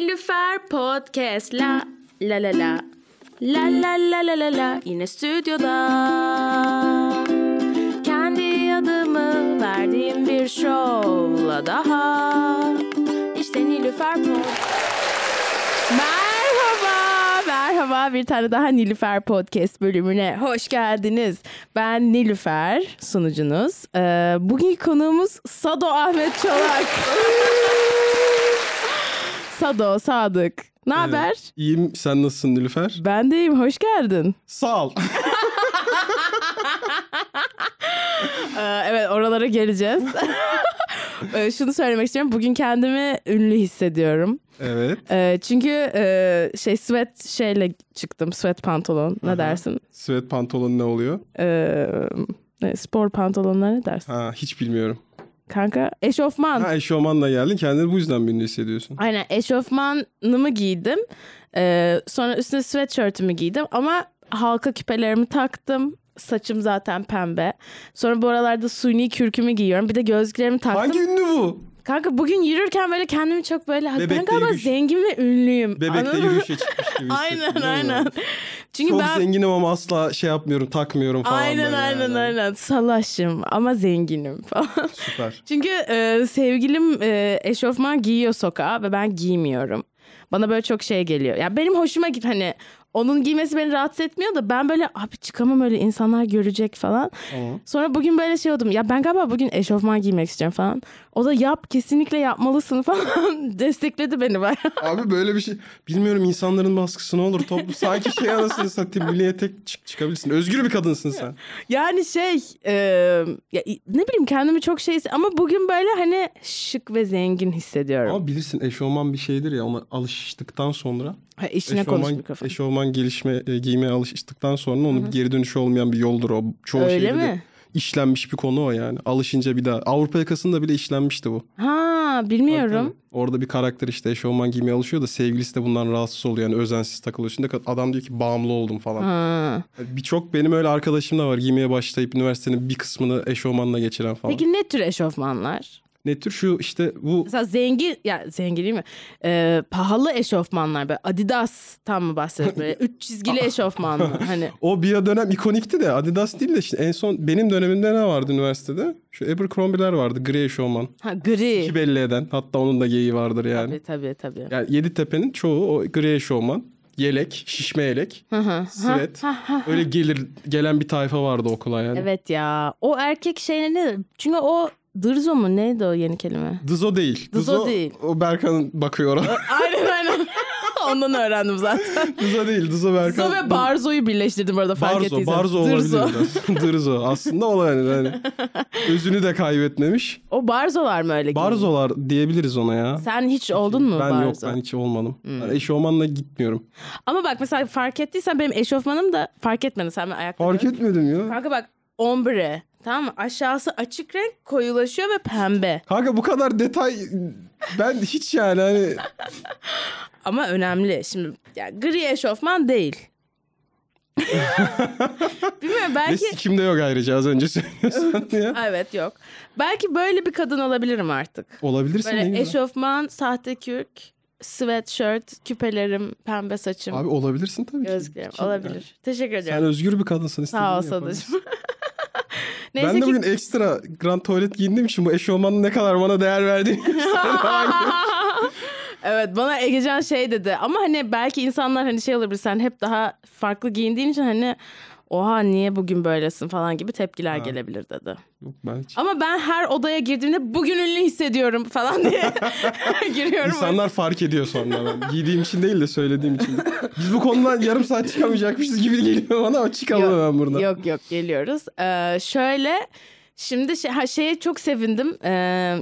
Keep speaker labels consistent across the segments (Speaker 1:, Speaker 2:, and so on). Speaker 1: Nilüfer Podcast la la la la la la la la la la yine stüdyoda kendi adımı verdiğim bir şovla daha işte Nilüfer Podcast Merhaba merhaba bir tane daha Nilüfer Podcast bölümüne hoş geldiniz ben Nilüfer sunucunuz ee, bugünkü konuğumuz Sado Ahmet Çolak Sado, Sadık. Ne haber?
Speaker 2: İyiyim. Sen nasılsın Nilüfer?
Speaker 1: Ben deyim, hoş geldin.
Speaker 2: Sağ ol.
Speaker 1: Ee, evet, oralara geleceğiz. Ee, Şunu söylemek istiyorum. Bugün kendimi ünlü hissediyorum.
Speaker 2: evet.
Speaker 1: Ee, çünkü e, şey sweat şeyle çıktım. Sweat pantolon. Ne dersin?
Speaker 2: Sweat pantolon ne oluyor?
Speaker 1: Ee, ne, spor pantolonlar ne dersin?
Speaker 2: Ha hiç bilmiyorum.
Speaker 1: Kanka eşofman.
Speaker 2: Ha eşofmanla geldin. Kendini bu yüzden ünlü hissediyorsun.
Speaker 1: Aynen eşofmanımı giydim. Ee, sonra üstüne sweatshirtümü giydim ama halka küpelerimi taktım. Saçım zaten pembe. Sonra bu aralarda suni kürkümü giyiyorum. Bir de gözlüklerimi taktım.
Speaker 2: Hangi ünlü bu?
Speaker 1: Kanka bugün yürürken böyle kendimi çok böyle... "Ay, ben
Speaker 2: Bebekte
Speaker 1: galiba
Speaker 2: yürüyüş.
Speaker 1: zengin ve ünlüyüm.
Speaker 2: Bebekte
Speaker 1: Anladın mı?
Speaker 2: yürüyüşe çıkmış gibi
Speaker 1: Aynen
Speaker 2: hissettim, değil mi?
Speaker 1: aynen. Çünkü
Speaker 2: Çok
Speaker 1: ben...
Speaker 2: zenginim ama asla şey yapmıyorum, takmıyorum falan.
Speaker 1: Aynen
Speaker 2: böyle
Speaker 1: aynen
Speaker 2: yani.
Speaker 1: aynen. Salaşım ama zenginim falan.
Speaker 2: Süper.
Speaker 1: Çünkü e, sevgilim e, eşofman giyiyor sokağa ve ben giymiyorum. Bana böyle çok şey geliyor. Ya benim hoşuma git hani onun giymesi beni rahatsız etmiyor da ben böyle abi çıkamam öyle insanlar görecek falan.
Speaker 2: Tamam.
Speaker 1: Sonra bugün böyle şey oldum. Ya ben galiba bugün eşofman giymek istiyorum falan. O da yap kesinlikle yapmalısın falan destekledi beni bayağı.
Speaker 2: Abi böyle bir şey. Bilmiyorum insanların baskısı ne olur toplu. Sanki şey anasını satayım. Milliye tek çık çıkabilirsin. Özgür bir kadınsın sen.
Speaker 1: Yani şey e, ya, ne bileyim kendimi çok şey ama bugün böyle hani şık ve zengin hissediyorum.
Speaker 2: Ama bilirsin eşofman bir şeydir ya. Ona alıştıktan sonra
Speaker 1: ha, işine konuş mikrofon.
Speaker 2: eşofman gelişme, e, giymeye alıştıktan sonra onun bir geri dönüşü olmayan bir yoldur o. Çoğu
Speaker 1: Öyle
Speaker 2: şeyde de
Speaker 1: mi?
Speaker 2: işlenmiş bir konu o yani. Alışınca bir daha. Avrupa yakasında bile işlenmişti bu.
Speaker 1: Ha bilmiyorum.
Speaker 2: Orada bir karakter işte eşofman giymeye alışıyor da sevgilisi de bundan rahatsız oluyor. Yani özensiz takılıyor. Şimdi adam diyor ki bağımlı oldum falan. E,
Speaker 1: Ha.
Speaker 2: Birçok benim öyle arkadaşım da var. Giymeye başlayıp üniversitenin bir kısmını eşofmanla geçiren falan.
Speaker 1: Peki ne tür eşofmanlar?
Speaker 2: Ne tür şu işte bu
Speaker 1: Mesela zengin, ya zengin değil mi? Ee, pahalı eşofmanlar böyle Adidas tam mı bahsediyoruz böyle? Üç çizgili eşofmanlar hani.
Speaker 2: o bir dönem ikonikti de Adidas değil de işte en son benim dönemimde ne vardı üniversitede? Şu Abercrombie'ler vardı gri eşofman.
Speaker 1: Ha
Speaker 2: Ki
Speaker 1: gri.
Speaker 2: belli eden. Hatta onun da geyiği vardır yani.
Speaker 1: Tabii tabii tabii.
Speaker 2: Yani Yeditepe'nin çoğu o gri eşofman. Yelek, şişme yelek,
Speaker 1: Hı hı.
Speaker 2: sivet. Öyle gelir gelen bir tayfa vardı okula yani.
Speaker 1: Evet ya. O erkek şeyine ne? Çünkü o dırzo mu? Neydi o yeni kelime?
Speaker 2: Dızo değil.
Speaker 1: Dızo değil.
Speaker 2: O Berkan bakıyor ona.
Speaker 1: aynen aynen. Ondan öğrendim zaten.
Speaker 2: Dızo değil. Dızo Berkan.
Speaker 1: Dırzo ve barzoyu birleştirdim orada fark
Speaker 2: Barzo,
Speaker 1: ettiysen.
Speaker 2: Barzo
Speaker 1: Dırzo.
Speaker 2: olabilir biraz. Dırzo. Aslında o yani. yani. Özünü de kaybetmemiş.
Speaker 1: O barzolar mı öyle? giyiniyor?
Speaker 2: Barzolar diyebiliriz ona ya.
Speaker 1: Sen hiç oldun mu
Speaker 2: ben yok
Speaker 1: barzo? Hmm.
Speaker 2: ben hiç olmadım. Ben eşofmanla gitmiyorum.
Speaker 1: Ama bak mesela fark ettiysen benim eşofmanım da fark etmedi. Sen ben ayakta
Speaker 2: Fark
Speaker 1: gördün.
Speaker 2: etmedim ya.
Speaker 1: Kanka bak ombre tamam mı? Aşağısı açık renk koyulaşıyor ve pembe.
Speaker 2: Kanka bu kadar detay ben hiç yani hani
Speaker 1: Ama önemli. Şimdi ya gri eşofman değil. Bilmiyorum
Speaker 2: Ve
Speaker 1: belki...
Speaker 2: sikimde yok ayrıca az önce söylüyorsan ya.
Speaker 1: Aa, Evet yok. Belki böyle bir kadın olabilirim artık.
Speaker 2: Olabilirsin ne
Speaker 1: Böyle
Speaker 2: güzel.
Speaker 1: eşofman, sahte kürk, sweatshirt, küpelerim, pembe saçım,
Speaker 2: Abi olabilirsin tabii ki.
Speaker 1: gözlüklerim.
Speaker 2: Kim-
Speaker 1: Olabilir.
Speaker 2: yani.
Speaker 1: Teşekkür ediyorum.
Speaker 2: Sen özgür bir kadınsın.
Speaker 1: Sağ ol
Speaker 2: istediğini yapabilirsin.
Speaker 1: Sadıcığım. Neyse
Speaker 2: Ben de
Speaker 1: ki
Speaker 2: bugün ekstra grand tuvalet giyindiğim için bu eşofmanın ne kadar bana değer verdiğini
Speaker 1: evet bana Egecan şey dedi ama hani belki insanlar hani şey olabilir sen hep daha farklı giyindiğin için hani oha niye bugün böylesin falan gibi tepkiler gelebilir dedi.
Speaker 2: Yok, ben hiç-
Speaker 1: Ama ben her odaya girdiğimde bugün ünlü hissediyorum falan diye giriyorum.
Speaker 2: İnsanlar fark ediyor sonra ben. Giydiğim için değil de söylediğim için. Biz bu konudan yarım saat çıkamayacakmışız gibi geliyor bana ama çıkalım
Speaker 1: Yok,
Speaker 2: hemen buradan.
Speaker 1: Yok yok geliyoruz. Ee, şöyle şimdi şey, ha, şeye çok sevindim. Ee,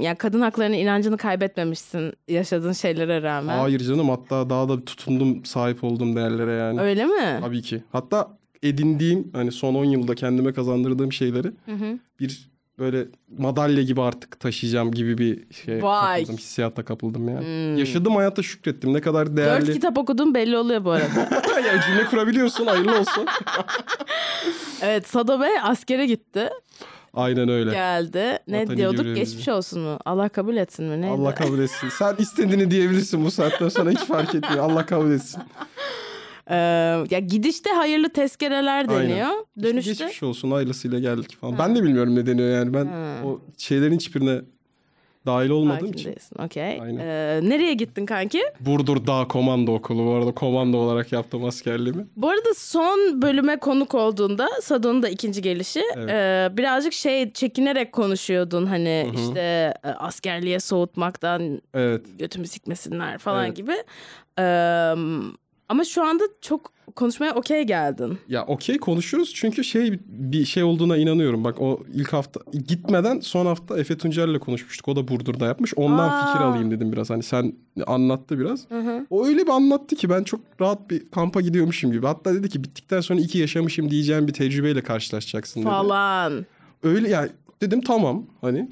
Speaker 1: yani kadın haklarına inancını kaybetmemişsin yaşadığın şeylere rağmen.
Speaker 2: Hayır canım hatta daha da tutundum sahip olduğum değerlere yani.
Speaker 1: Öyle mi?
Speaker 2: Tabii ki. Hatta edindiğim hani son 10 yılda kendime kazandırdığım şeyleri
Speaker 1: Hı hı.
Speaker 2: bir böyle madalya gibi artık taşıyacağım gibi bir şey
Speaker 1: Vay.
Speaker 2: kapıldım. Hissiyata kapıldım yani.
Speaker 1: Hmm.
Speaker 2: Yaşadım hayata şükrettim. Ne kadar
Speaker 1: Dört
Speaker 2: değerli.
Speaker 1: kitap okudun belli oluyor bu arada.
Speaker 2: ya cümle kurabiliyorsun hayırlı olsun.
Speaker 1: evet Sado Bey askere gitti.
Speaker 2: Aynen öyle.
Speaker 1: geldi. Ne
Speaker 2: Vatani
Speaker 1: diyorduk?
Speaker 2: görevimizi.
Speaker 1: Geçmiş olsun mu? Allah kabul etsin mi? Neydi?
Speaker 2: Allah kabul etsin. Sen istediğini diyebilirsin bu saatten sonra hiç fark etmiyor. Allah kabul etsin.
Speaker 1: Ee, ya gidişte hayırlı tezkereler
Speaker 2: Aynen.
Speaker 1: deniyor. Dönüşte
Speaker 2: Geçmiş olsun hayırlısıyla geldik falan. Ben de bilmiyorum ne deniyor yani. Ben
Speaker 1: Ha.
Speaker 2: o şeylerin hiçbirine dahil olmadığım
Speaker 1: hakim
Speaker 2: için.
Speaker 1: değilsin. Okey.
Speaker 2: Aynen.
Speaker 1: Ee, nereye gittin kanki?
Speaker 2: Burdur Dağ Komando Okulu bu arada komando olarak yaptım askerliğimi.
Speaker 1: Bu arada son bölüme konuk olduğunda Sadon'un da ikinci gelişi
Speaker 2: Evet.
Speaker 1: e, birazcık şey çekinerek konuşuyordun hani
Speaker 2: Hı hı.
Speaker 1: işte e, askerliğe soğutmaktan
Speaker 2: Evet.
Speaker 1: götümü sikmesinler falan
Speaker 2: Evet.
Speaker 1: gibi. Ee, ama şu anda çok konuşmaya okey geldin.
Speaker 2: Ya okey konuşuruz çünkü şey bir şey olduğuna inanıyorum. Bak o ilk hafta gitmeden son hafta Efe Tuncer'le konuşmuştuk. O da Burdur'da yapmış. Ondan
Speaker 1: Aa.
Speaker 2: fikir alayım dedim biraz. Hani sen anlattı biraz. O öyle bir anlattı ki ben çok rahat bir kampa gidiyormuşum gibi. Hatta dedi ki bittikten sonra iki yaşamışım diyeceğim bir tecrübeyle karşılaşacaksın dedi.
Speaker 1: Falan.
Speaker 2: Öyle yani dedim tamam hani.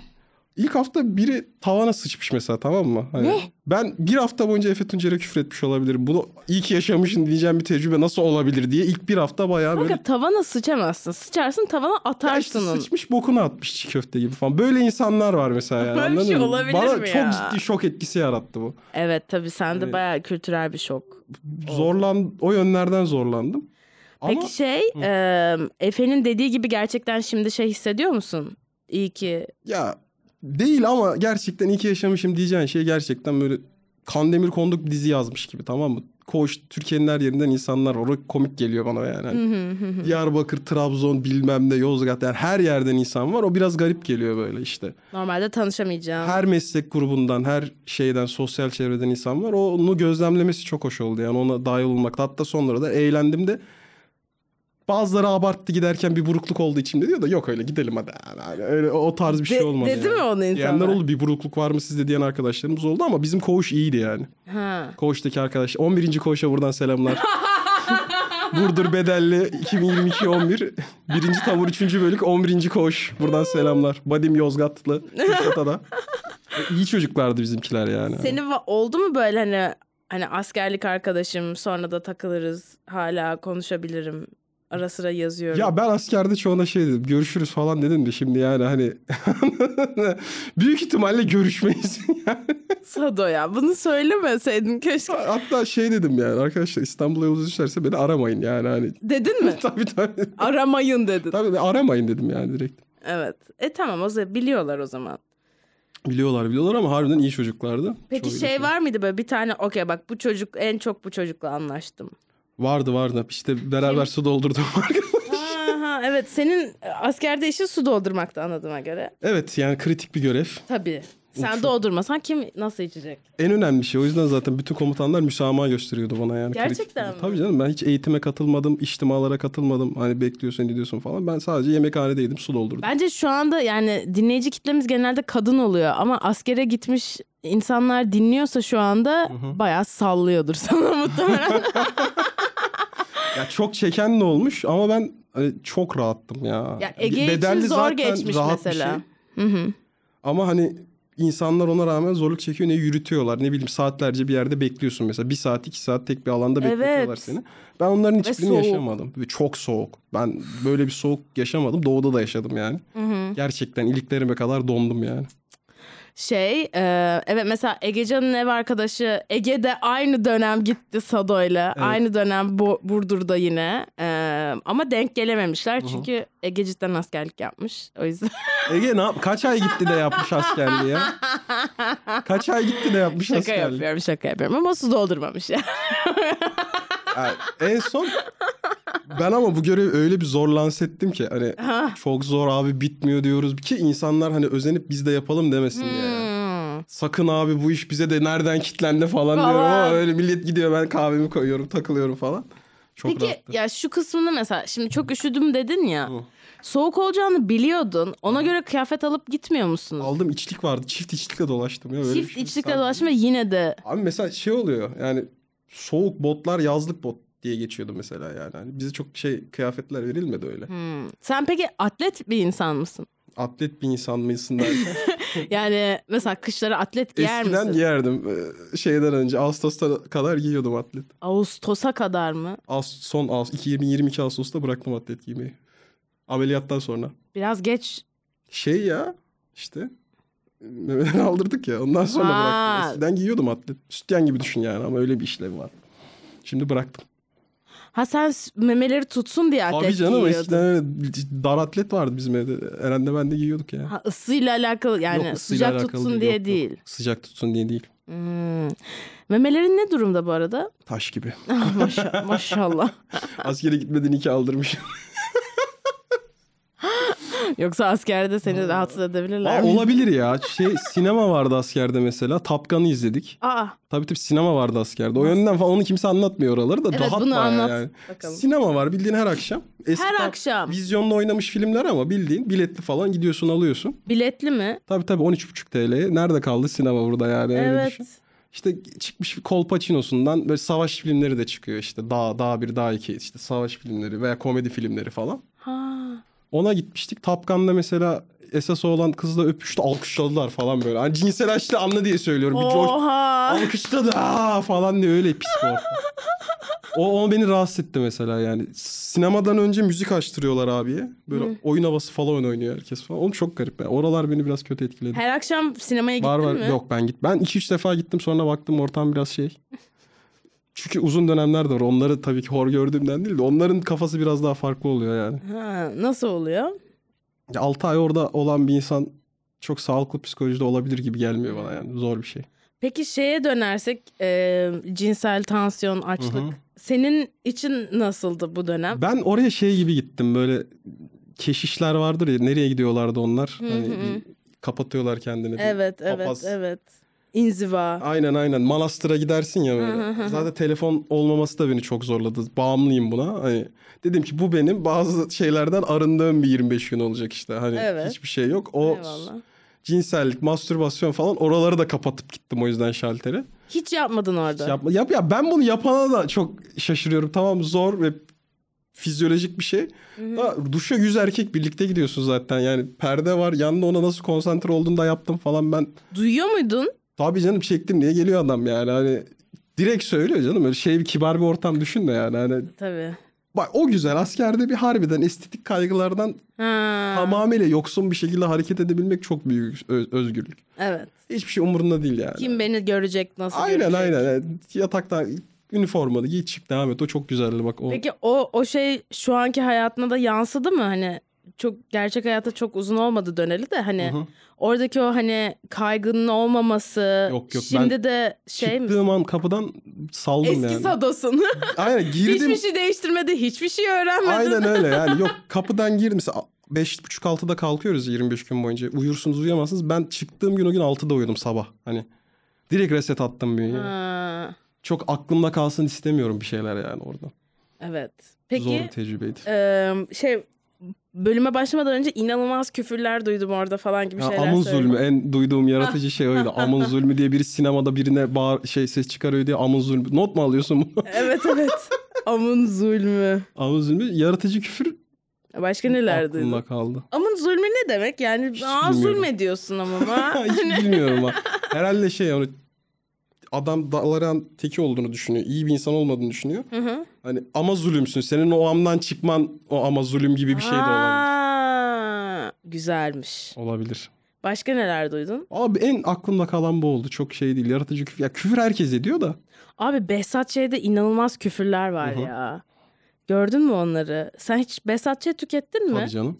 Speaker 2: İlk hafta biri tavana sıçmış mesela tamam mı? Hani
Speaker 1: Ne?
Speaker 2: Ben bir hafta boyunca Efe Tuncer'e küfretmiş olabilirim. Bunu iyi ki yaşamışsın diyeceğim bir tecrübe nasıl olabilir diye ilk bir hafta bayağı böyle...
Speaker 1: Kanka tavana sıçamazsın. Sıçarsın tavana
Speaker 2: Ya işte
Speaker 1: atarsın onu.
Speaker 2: sıçmış bokunu atmış çiğ köfte gibi falan. Böyle insanlar var mesela yani
Speaker 1: Böyle bir
Speaker 2: anladın
Speaker 1: şey
Speaker 2: mı?
Speaker 1: olabilir
Speaker 2: Bana
Speaker 1: mi
Speaker 2: çok
Speaker 1: ya?
Speaker 2: ciddi şok etkisi yarattı bu.
Speaker 1: Evet tabii sende
Speaker 2: Evet.
Speaker 1: bayağı kültürel bir şok.
Speaker 2: Zorlan o yönlerden zorlandım. Ama
Speaker 1: Peki şey e, Efe'nin dediği gibi gerçekten şimdi şey hissediyor musun? İyi ki
Speaker 2: ya değil ama gerçekten iki yaşamışım diyeceğin şey gerçekten böyle Kandemir Konduk bir dizi yazmış gibi tamam mı? Koş Türkiye'nin her yerinden insanlar var. O komik geliyor bana yani. Hani Diyarbakır, Trabzon bilmem ne Yozgat yani her yerden insan var. O biraz garip geliyor böyle işte.
Speaker 1: normalde tanışamayacağım.
Speaker 2: Her meslek grubundan, her şeyden, sosyal çevreden insan var. Onu gözlemlemesi çok hoş oldu yani ona dahil olmak. Hatta sonra da eğlendim de bazıları abarttı giderken bir burukluk olduğu için de diyor da yok öyle gidelim hadi. Yani öyle, o tarz bir şey
Speaker 1: De-
Speaker 2: olmadı.
Speaker 1: dedi
Speaker 2: yani.
Speaker 1: mi onu
Speaker 2: Diyenler
Speaker 1: insanlar?
Speaker 2: oldu bir burukluk var mı sizde diyen arkadaşlarımız oldu ama bizim koğuş iyiydi yani.
Speaker 1: Ha.
Speaker 2: Koğuştaki arkadaş 11. koğuşa buradan selamlar. Burdur Bedelli 2022 11. Birinci tavır 3. bölük 11. koğuş. Buradan selamlar. Badim Yozgatlı. Kuşat'a da. E, İyi çocuklardı bizimkiler yani.
Speaker 1: Senin va- oldu mu böyle hani hani askerlik arkadaşım sonra da takılırız hala konuşabilirim ara sıra yazıyorum.
Speaker 2: Ya ben askerde çoğuna şey dedim. Görüşürüz falan dedim de şimdi yani hani büyük ihtimalle görüşmeyiz. yani.
Speaker 1: Sado ya bunu söylemeseydin keşke.
Speaker 2: Hatta şey dedim yani arkadaşlar İstanbul'a yolunuz düşerse beni aramayın yani hani.
Speaker 1: Dedin mi?
Speaker 2: tabii tabii.
Speaker 1: Aramayın dedin.
Speaker 2: Tabii aramayın dedim yani direkt.
Speaker 1: Evet. E tamam o zaman biliyorlar o zaman.
Speaker 2: Biliyorlar biliyorlar ama harbiden iyi çocuklardı.
Speaker 1: Peki
Speaker 2: Çoğu
Speaker 1: şey
Speaker 2: iyi
Speaker 1: var mıydı böyle bir tane okey bak bu çocuk en çok bu çocukla anlaştım.
Speaker 2: Vardı vardı. İşte beraber su doldurdum.
Speaker 1: Aha, evet senin e, askerde işin su doldurmakta anladığıma göre.
Speaker 2: evet yani kritik bir görev.
Speaker 1: Tabii.
Speaker 2: Uçuk.
Speaker 1: Sen doldurmasan kim nasıl içecek?
Speaker 2: En önemli şey. O yüzden zaten bütün komutanlar müsamaha gösteriyordu bana yani. Kritik-
Speaker 1: Gerçekten mi?
Speaker 2: Tabii canım ben hiç eğitime katılmadım, içtimalara katılmadım. Hani bekliyorsun gidiyorsun falan. Ben sadece yemekhanedeydim su doldurdum.
Speaker 1: Bence şu anda yani dinleyici kitlemiz genelde kadın oluyor ama askere gitmiş insanlar dinliyorsa şu anda bayağı sallıyordur sana muhtemelen.
Speaker 2: Ya çok çeken de olmuş ama ben hani çok rahattım ya.
Speaker 1: ya Ege
Speaker 2: Bedelli
Speaker 1: için zor
Speaker 2: zaten
Speaker 1: geçmiş
Speaker 2: rahat bir
Speaker 1: mesela.
Speaker 2: şey. Ama hani insanlar ona rağmen zorluk çekiyor ne yürütüyorlar ne bileyim saatlerce bir yerde bekliyorsun mesela. Bir saat iki saat tek bir alanda
Speaker 1: Evet.
Speaker 2: bekletiyorlar seni. Ben onların hiçbirini
Speaker 1: soğuk.
Speaker 2: yaşamadım. Ve çok soğuk. Ben böyle bir soğuk yaşamadım. Doğuda da yaşadım yani. Gerçekten iliklerime kadar dondum yani.
Speaker 1: Şey e, evet mesela Egecan'ın ev arkadaşı Ege'de aynı dönem gitti Sado'yla.
Speaker 2: Evet.
Speaker 1: Aynı dönem Bo- Burdur'da yine. E, ama denk gelememişler çünkü Ege cidden askerlik yapmış. O yüzden
Speaker 2: Ege ne yap? Kaç ay gitti de yapmış askerliği ya? Kaç ay gitti de yapmış
Speaker 1: şaka
Speaker 2: askerliği?
Speaker 1: yapıyorum şaka yapıyorum ama su doldurmamış ya.
Speaker 2: Yani en son ben ama bu görevi öyle bir zor lanse ettim ki hani çok zor abi bitmiyor diyoruz ki insanlar hani özenip biz de yapalım demesin diye. yani.
Speaker 1: Hmm.
Speaker 2: sakın abi bu iş bize de nereden kitlendi falan,
Speaker 1: Falan.
Speaker 2: diyorum ama öyle millet gidiyor ben kahvemi koyuyorum takılıyorum falan. Çok
Speaker 1: Peki
Speaker 2: rahattı.
Speaker 1: ya şu kısmını mesela şimdi çok üşüdüm dedin ya.
Speaker 2: Hı.
Speaker 1: Soğuk olacağını biliyordun. Ona göre kıyafet alıp gitmiyor musunuz?
Speaker 2: Aldım içlik vardı çift içlikle dolaştım ya. Böyle bir
Speaker 1: Çift
Speaker 2: şey.
Speaker 1: içlikle
Speaker 2: Sen-
Speaker 1: dolaşma yine de
Speaker 2: Abi mesela şey oluyor yani soğuk botlar yazlık bot diye geçiyordu mesela yani. Hani bize çok şey kıyafetler verilmedi öyle.
Speaker 1: Hmm. Sen peki atlet bir insan mısın?
Speaker 2: Atlet bir insan mısın derken.
Speaker 1: Yani mesela kışları atlet giyer
Speaker 2: Eskiden
Speaker 1: misin?
Speaker 2: giyerdim. Ee, Şeyden önce Ağustos'ta kadar giyiyordum atlet.
Speaker 1: Ağustos'a kadar mı?
Speaker 2: Ağust- son Ağustos 2022 Ağustos'ta bıraktım atlet giymeyi. Ameliyattan sonra.
Speaker 1: Biraz geç
Speaker 2: Şey ya işte memeleri aldırdık ya ondan sonra
Speaker 1: Ha.
Speaker 2: bıraktım. Eskiden giyiyordum atlet. Sütyen gibi düşün yani ama öyle bir işlevi var. Şimdi bıraktım.
Speaker 1: Ha sen s- memeleri tutsun diye atlet
Speaker 2: Abi canım
Speaker 1: giyiyordun.
Speaker 2: eskiden öyle dar atlet vardı bizim evde. Eren de ben de giyiyorduk ya.
Speaker 1: Ha, ısıyla alakalı yani
Speaker 2: Yok, ısıyla
Speaker 1: sıcak
Speaker 2: alakalı
Speaker 1: tutsun
Speaker 2: değil,
Speaker 1: diye
Speaker 2: yok, yok.
Speaker 1: değil.
Speaker 2: Sıcak tutsun diye değil.
Speaker 1: Hmm. Memelerin ne durumda bu arada? Ah,
Speaker 2: Taş gibi.
Speaker 1: Maşa- maşallah.
Speaker 2: Askere gitmeden iki aldırmış.
Speaker 1: Yoksa askerde seni rahatsız edebilirler.
Speaker 2: Aa,
Speaker 1: mi?
Speaker 2: olabilir ya. Şey sinema vardı askerde mesela. Tapkan'ı izledik.
Speaker 1: Aa,
Speaker 2: Tabii tabii sinema vardı askerde. O yönden falan onu kimse anlatmıyor oraları da.
Speaker 1: Evet,
Speaker 2: dağıtma
Speaker 1: bunu anlat
Speaker 2: Yani.
Speaker 1: bakalım.
Speaker 2: Sinema var bildiğin her akşam. Eski
Speaker 1: her
Speaker 2: tam
Speaker 1: akşam
Speaker 2: Vizyonda oynamış filmler ama bildiğin biletli falan gidiyorsun alıyorsun.
Speaker 1: biletli mi?
Speaker 2: Tabii tabii 13,5 TL'ye. Nerede kaldı sinema burada yani? öyle şey.
Speaker 1: Evet.
Speaker 2: düşün. İşte çıkmış Kolpaçino'sundan böyle savaş filmleri de çıkıyor işte. Dağ, Dağ 1, Dağ 2 işte savaş filmleri veya komedi filmleri falan.
Speaker 1: Ha.
Speaker 2: Ona gitmiştik. Tapkan'da mesela esas olan kızla öpüştü alkışladılar falan böyle. Hani cinsel açlı anla diye söylüyorum. Bir coş-
Speaker 1: Oh. Oha.
Speaker 2: alkışladı aa falan diye öyle pis bir ortam. O, o beni rahatsız etti mesela yani. Sinemadan önce müzik açtırıyorlar abiye. Böyle oyun havası falan oynuyor herkes falan. Oğlum çok garip. ya. Oralar beni biraz kötü etkiledi.
Speaker 1: Her akşam sinemaya gittin
Speaker 2: var var.
Speaker 1: mi?
Speaker 2: Yok ben git. Ben 2-3 defa gittim sonra baktım ortam biraz şey. Çünkü uzun dönemler de var. Onları tabii ki hor gördüğümden değil de onların kafası biraz daha farklı oluyor yani.
Speaker 1: Ha, nasıl oluyor?
Speaker 2: 6 ay orada olan bir insan çok sağlıklı psikolojide olabilir gibi gelmiyor bana yani. Zor bir şey.
Speaker 1: Peki şeye dönersek e, cinsel tansiyon, açlık.
Speaker 2: Hı hı.
Speaker 1: Senin için nasıldı bu dönem?
Speaker 2: Ben oraya şey gibi gittim böyle keşişler vardır ya nereye gidiyorlardı onlar?
Speaker 1: Hı
Speaker 2: Hani
Speaker 1: hı.
Speaker 2: bir kapatıyorlar kendini. bir-
Speaker 1: Evet, evet,
Speaker 2: papaz.
Speaker 1: evet. İnziva.
Speaker 2: Aynen aynen manastıra gidersin ya
Speaker 1: Hı hı hı
Speaker 2: böyle.
Speaker 1: hı.
Speaker 2: Zaten telefon olmaması da beni çok zorladı. Bağımlıyım buna. Hani dedim ki bu benim bazı şeylerden arındığım bir 25 gün olacak işte. Hani
Speaker 1: Evet.
Speaker 2: hiçbir şey yok. O
Speaker 1: Eyvallah.
Speaker 2: cinsellik, mastürbasyon falan oraları da kapatıp gittim o yüzden şalteri.
Speaker 1: Hiç yapmadın orada.
Speaker 2: Yapma, yap ya ben bunu yapana da çok şaşırıyorum. Tamam zor ve fizyolojik bir şey. Da duşa yüz erkek birlikte gidiyorsun zaten. Yani perde var. Yanında ona nasıl konsantre olduğunda yaptım falan ben.
Speaker 1: Duyuyor muydun?
Speaker 2: Tabii canım çektim diye geliyor adam yani. Hani direkt söylüyor canım. Öyle şey bir kibar bir ortam düşünme yani. Hani
Speaker 1: Tabii.
Speaker 2: bak o güzel askerde bir harbiden estetik kaygılardan
Speaker 1: Ha.
Speaker 2: tamamıyla yoksun bir şekilde hareket edebilmek çok büyük ö- özgürlük.
Speaker 1: Evet.
Speaker 2: Hiçbir şey umurunda değil yani.
Speaker 1: Kim beni görecek, nasıl
Speaker 2: Aynen
Speaker 1: görecek?
Speaker 2: aynen. Yani Yataktan üniformalı giy çık devam et. O çok güzeldi bak. O...
Speaker 1: Peki o o şey şu anki hayatına da yansıdı mı? Hani çok gerçek hayata çok uzun olmadı döneli de hani
Speaker 2: Hı hı.
Speaker 1: oradaki o hani kaygının olmaması
Speaker 2: Yok, yok,
Speaker 1: şimdi
Speaker 2: ben
Speaker 1: de şey mi?
Speaker 2: Çıktığım an kapıdan saldım
Speaker 1: Eski
Speaker 2: yani.
Speaker 1: sadosun.
Speaker 2: Aynen girdim.
Speaker 1: hiçbir şey değiştirmedi, hiçbir şey öğrenmedin.
Speaker 2: Aynen öyle yani. Yok kapıdan girdim. Mesela beş buçuk altıda kalkıyoruz 25 gün boyunca. Uyursunuz uyuyamazsınız. Ben çıktığım gün o gün 6'da uyudum sabah. Hani direkt reset attım bünyeye.
Speaker 1: Ha,
Speaker 2: Çok aklımda kalsın istemiyorum bir şeyler yani orada.
Speaker 1: evet. Peki
Speaker 2: Zor bir tecrübeydi.
Speaker 1: e, şey bölüme başlamadan önce inanılmaz küfürler duydum orada falan gibi
Speaker 2: Ya
Speaker 1: şeyler
Speaker 2: amın
Speaker 1: söyledim.
Speaker 2: zulmü en duyduğum yaratıcı şey oydu. Amın zulmü diye biri sinemada birine bağır, şey ses çıkarıyor diye amın zulmü. Not mu alıyorsun bunu?
Speaker 1: Evet evet. amın zulmü.
Speaker 2: amın zulmü yaratıcı küfür
Speaker 1: Başka neler duydun?
Speaker 2: aklımda kaldı.
Speaker 1: Amın zulmü ne demek? Yani
Speaker 2: Hiç
Speaker 1: aa
Speaker 2: bilmiyorum.
Speaker 1: zulmediyorsun ama.
Speaker 2: Hiç bilmiyorum ha. Herhalde şey yani adam dalaran teki olduğunu düşünüyor. İyi bir insan olmadığını düşünüyor.
Speaker 1: Hı hı.
Speaker 2: Hani ama zulümsün. Senin o amdan çıkman o ama zulüm gibi bir şey de olabilir.
Speaker 1: Aa, Güzelmiş.
Speaker 2: Olabilir.
Speaker 1: Başka neler duydun?
Speaker 2: Abi en aklımda kalan bu oldu. Çok şey değil. Yaratıcı küfür. Ya küfür herkes ediyor da.
Speaker 1: Abi Behzat Ç'de inanılmaz küfürler var
Speaker 2: Hı hı.
Speaker 1: ya. Gördün mü onları? Sen hiç Behzat Ç tükettin mi?
Speaker 2: Tabii canım.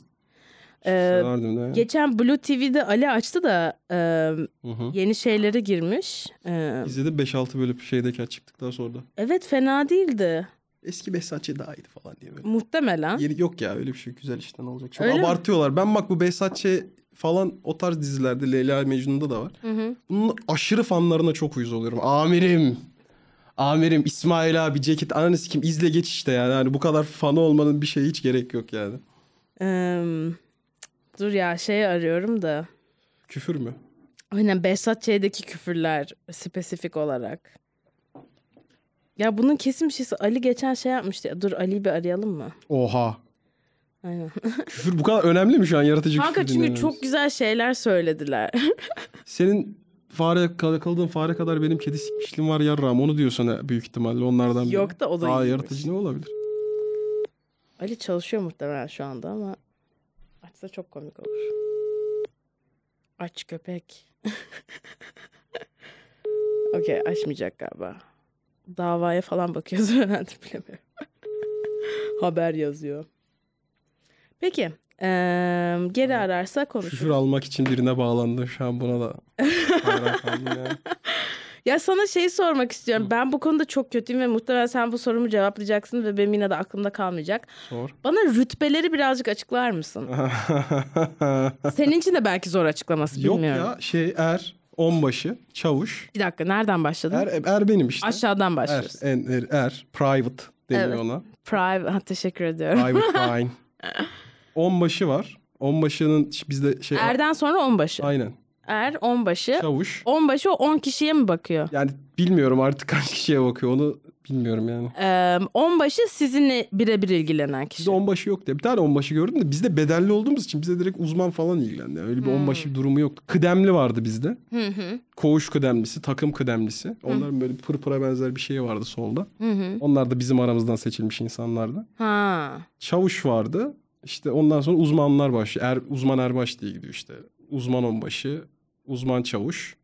Speaker 1: Ee,
Speaker 2: Severdim de. yani.
Speaker 1: geçen Blue TV'de Ali açtı da e,
Speaker 2: Hı hı.
Speaker 1: yeni şeylere girmiş. E,
Speaker 2: İzledim 5-6 bölüm şeydeki çıktıktan sonra da.
Speaker 1: evet fena değildi.
Speaker 2: Eski Behzatçı daha iyiydi falan diye böyle.
Speaker 1: Muhtemelen.
Speaker 2: Yeni yok ya öyle bir şey güzel işte ne olacak. Çok
Speaker 1: Öyle mi?
Speaker 2: abartıyorlar. Ben bak bu Behzatçı falan o tarz dizilerde Leyla Mecnun'da da var.
Speaker 1: Hı hı.
Speaker 2: Bunun aşırı fanlarına çok uyuz oluyorum. Amirim. Amirim İsmail abi ceket ananı kim izle geç işte yani. Hani bu kadar fanı olmanın bir şeye hiç gerek yok yani.
Speaker 1: E, dur ya şey arıyorum da.
Speaker 2: Küfür mü?
Speaker 1: Aynen Behzat Ç'deki küfürler spesifik olarak. Ya bunun kesin bir şeysi Ali geçen şey yapmıştı. ya. Dur Ali'yi bir arayalım mı?
Speaker 2: Oha.
Speaker 1: Aynen.
Speaker 2: Küfür bu kadar önemli mi şu an yaratıcı
Speaker 1: Kanka
Speaker 2: küfür
Speaker 1: çünkü
Speaker 2: dinlememiz?
Speaker 1: çok güzel şeyler söylediler.
Speaker 2: Senin fare kaldığın fare kadar benim kedi sikmişliğim var yarram onu diyorsun ha, büyük ihtimalle onlardan biri.
Speaker 1: Yok da o da
Speaker 2: Aa,
Speaker 1: iyiymiş.
Speaker 2: yaratıcı ne olabilir?
Speaker 1: Ali çalışıyor muhtemelen şu anda ama açsa çok komik olur. Aç köpek. Okey açmayacak galiba. Davaya falan bakıyoruz herhalde bilemiyorum. Haber yazıyor. Peki. eee, geri ararsa
Speaker 2: Küfür
Speaker 1: konuşuruz.
Speaker 2: almak için birine bağlandı. Şu an buna da hayran kaldım ya.
Speaker 1: Ya sana şeyi sormak istiyorum. Ben bu konuda çok kötüyüm ve muhtemelen sen bu sorumu cevaplayacaksın ve benim yine de aklımda kalmayacak.
Speaker 2: Sor.
Speaker 1: Bana rütbeleri birazcık açıklar mısın? Senin için de belki zor açıklaması
Speaker 2: Yok
Speaker 1: bilmiyorum.
Speaker 2: ya şey er, onbaşı, çavuş.
Speaker 1: Bir dakika nereden başladın?
Speaker 2: Er, er benim işte.
Speaker 1: Aşağıdan
Speaker 2: er,
Speaker 1: başlıyoruz.
Speaker 2: en- er, er, private deniyor
Speaker 1: Evet.
Speaker 2: ona.
Speaker 1: Private. Ha, teşekkür ediyorum.
Speaker 2: Private line. Onbaşı var. Onbaşının ş- bizde şey...
Speaker 1: Erden sonra onbaşı.
Speaker 2: Aynen.
Speaker 1: Er onbaşı.
Speaker 2: Çavuş.
Speaker 1: Onbaşı o 10 kişiye mi bakıyor?
Speaker 2: Yani bilmiyorum artık kaç kişiye bakıyor onu bilmiyorum yani.
Speaker 1: Ee, onbaşı sizinle birebir ilgilenen kişi.
Speaker 2: Bizde onbaşı yok diye. Bir tane onbaşı gördüm de bizde bedelli olduğumuz için bize direkt uzman falan ilgilendi. Yani öyle
Speaker 1: Hmm.
Speaker 2: bir onbaşı durumu yoktu. Kıdemli vardı bizde.
Speaker 1: Hı hı,
Speaker 2: Koğuş kıdemlisi, takım kıdemlisi. Onların böyle pırpıra benzer bir şeyi vardı solda.
Speaker 1: hı hı.
Speaker 2: Onlar da bizim aramızdan seçilmiş insanlardı.
Speaker 1: Ha.
Speaker 2: Çavuş vardı. İşte ondan sonra uzmanlar başlıyor. Er, uzman erbaş diye gidiyor işte. Uzman onbaşı, uzman çavuş.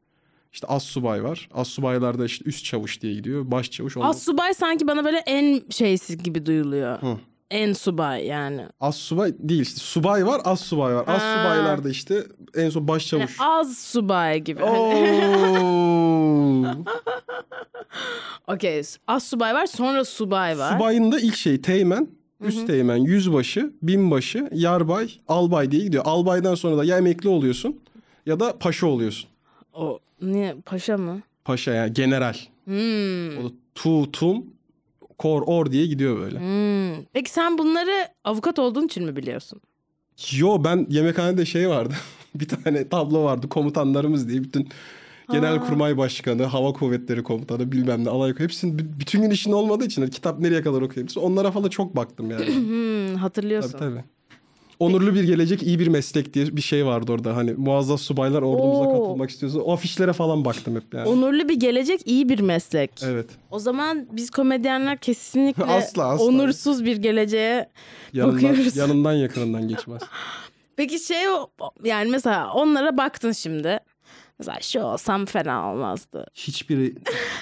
Speaker 2: İşte az subay var. Az subaylarda işte üst çavuş diye gidiyor. Baş çavuş. Ondan...
Speaker 1: Az subay sanki bana böyle en şeysiz gibi duyuluyor.
Speaker 2: Hı.
Speaker 1: En subay yani.
Speaker 2: Az subay değil işte. Subay var, az subay var. Az
Speaker 1: Ha.
Speaker 2: subaylarda işte en son baş
Speaker 1: Yani
Speaker 2: çavuş.
Speaker 1: Hani az subay gibi. Hani-
Speaker 2: Oo.
Speaker 1: Okey. Az subay var sonra subay var.
Speaker 2: Subayın da ilk şeyi teğmen, üst teğmen, yüzbaşı, binbaşı, yarbay, albay diye gidiyor. Albaydan sonra da ya emekli oluyorsun ya da paşa oluyorsun.
Speaker 1: O niye paşa mı?
Speaker 2: Paşa yani general.
Speaker 1: Hmm.
Speaker 2: O da tu, tum, kor, or diye gidiyor böyle.
Speaker 1: Hmm. Peki sen bunları avukat olduğun için mi biliyorsun?
Speaker 2: Yo ben yemekhanede şey vardı. bir tane tablo vardı komutanlarımız diye bütün Genelkurmay Başkanı, Hava Kuvvetleri Komutanı bilmem ne alay hepsinin b- bütün gün işin olmadığı için hani kitap nereye kadar okuyabilirsin onlara falan çok baktım yani.
Speaker 1: Hmm, hatırlıyorsun.
Speaker 2: Tabii tabii. Onurlu bir gelecek, iyi bir meslek diye bir şey vardı orada. Hani muazzaf subaylar ordumuza
Speaker 1: Oo.
Speaker 2: katılmak istiyorsa o afişlere falan baktım hep yani.
Speaker 1: Onurlu bir gelecek iyi bir meslek.
Speaker 2: Evet.
Speaker 1: O zaman biz komedyenler kesinlikle
Speaker 2: Asla, asla.
Speaker 1: onursuz bir geleceğe
Speaker 2: Yanından,
Speaker 1: Bakıyoruz.
Speaker 2: yanından yakınından geçmez.
Speaker 1: Peki şey o o- yani mesela onlara baktın şimdi. Mesela şu olsam fena olmazdı.
Speaker 2: Hiçbiri,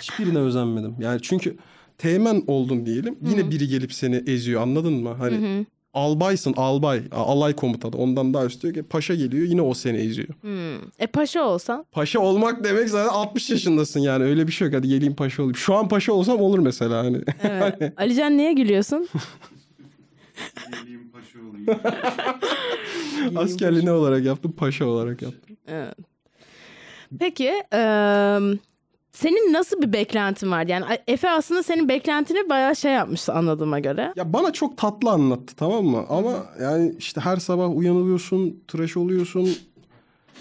Speaker 2: hiçbirine özenmedim. Yani çünkü teğmen oldun diyelim. Yine biri gelip seni eziyor anladın mı? Hani albaysın albay, a- alay komutanı. Ondan daha üstü yok. E, Paşa geliyor yine o seni eziyor.
Speaker 1: Hmm. E paşa olsan.
Speaker 2: Paşa olmak demek zaten 60 yaşındasın yani. Öyle bir şey yok. Hadi geleyim paşa olayım. Şu an paşa olsam olur mesela hani.
Speaker 1: Evet. Alican niye gülüyorsun?
Speaker 3: Geleyim paşa olayım.
Speaker 2: Askerliği ne olarak yaptım? Paşa olarak yaptım.
Speaker 1: Evet. Peki eee, senin nasıl bir beklentin var? Yani A- Efe aslında senin beklentini bayağı şey yapmış anladığıma göre.
Speaker 2: Ya bana çok tatlı anlattı tamam mı? Ama yani işte her sabah uyanıyorsun, tıraş oluyorsun.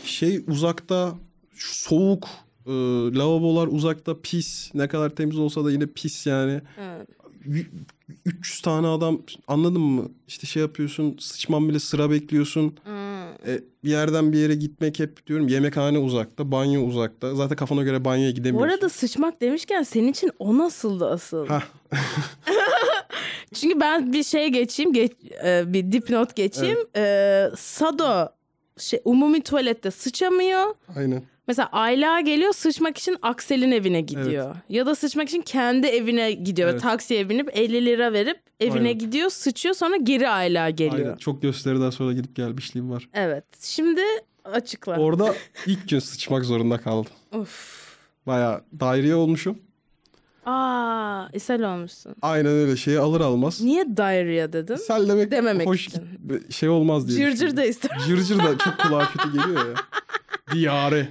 Speaker 2: Şey uzakta, soğuk, e, lavabolar uzakta, pis. Ne kadar temiz olsa da yine pis yani.
Speaker 1: Evet.
Speaker 2: Y- 300 tane adam anladın mı? İşte şey yapıyorsun, sıçman bile sıra bekliyorsun.
Speaker 1: Hmm.
Speaker 2: E, bir yerden bir yere gitmek hep diyorum yemekhane uzakta, banyo uzakta. Zaten kafana göre banyoya
Speaker 1: Bu
Speaker 2: gidemiyorsun.
Speaker 1: arada sıçmak demişken senin için o nasıldı asıl?
Speaker 2: Hah.
Speaker 1: Çünkü ben bir şey geçeyim, geç, e, bir dipnot geçeyim. E, Sado şey, umumi tuvalette sıçamıyor.
Speaker 2: Aynen.
Speaker 1: Mesela Ayla geliyor sıçmak için Aksel'in evine gidiyor. Ya da sıçmak için kendi evine gidiyor.
Speaker 2: Evet.
Speaker 1: Taksiye binip 50 lira verip evine
Speaker 2: Aynen.
Speaker 1: gidiyor, sıçıyor sonra geri Ayla geliyor.
Speaker 2: Aynen. Çok gösteriden sonra gidip gelmişliğim var.
Speaker 1: Evet. Şimdi açıkla.
Speaker 2: Orada ilk gün sıçmak zorunda kaldım.
Speaker 1: of.
Speaker 2: Baya daireye olmuşum.
Speaker 1: Aa, ishal olmuşsun.
Speaker 2: Aynen öyle şeyi alır almaz.
Speaker 1: Niye diarrhea dedin?
Speaker 2: Sen demek
Speaker 1: Dememek
Speaker 2: hoş
Speaker 1: için.
Speaker 2: git- şey olmaz diye.
Speaker 1: Cırcır da ister.
Speaker 2: düşündüm. Cırcır da çok kulağa kötü geliyor ya. Diyare.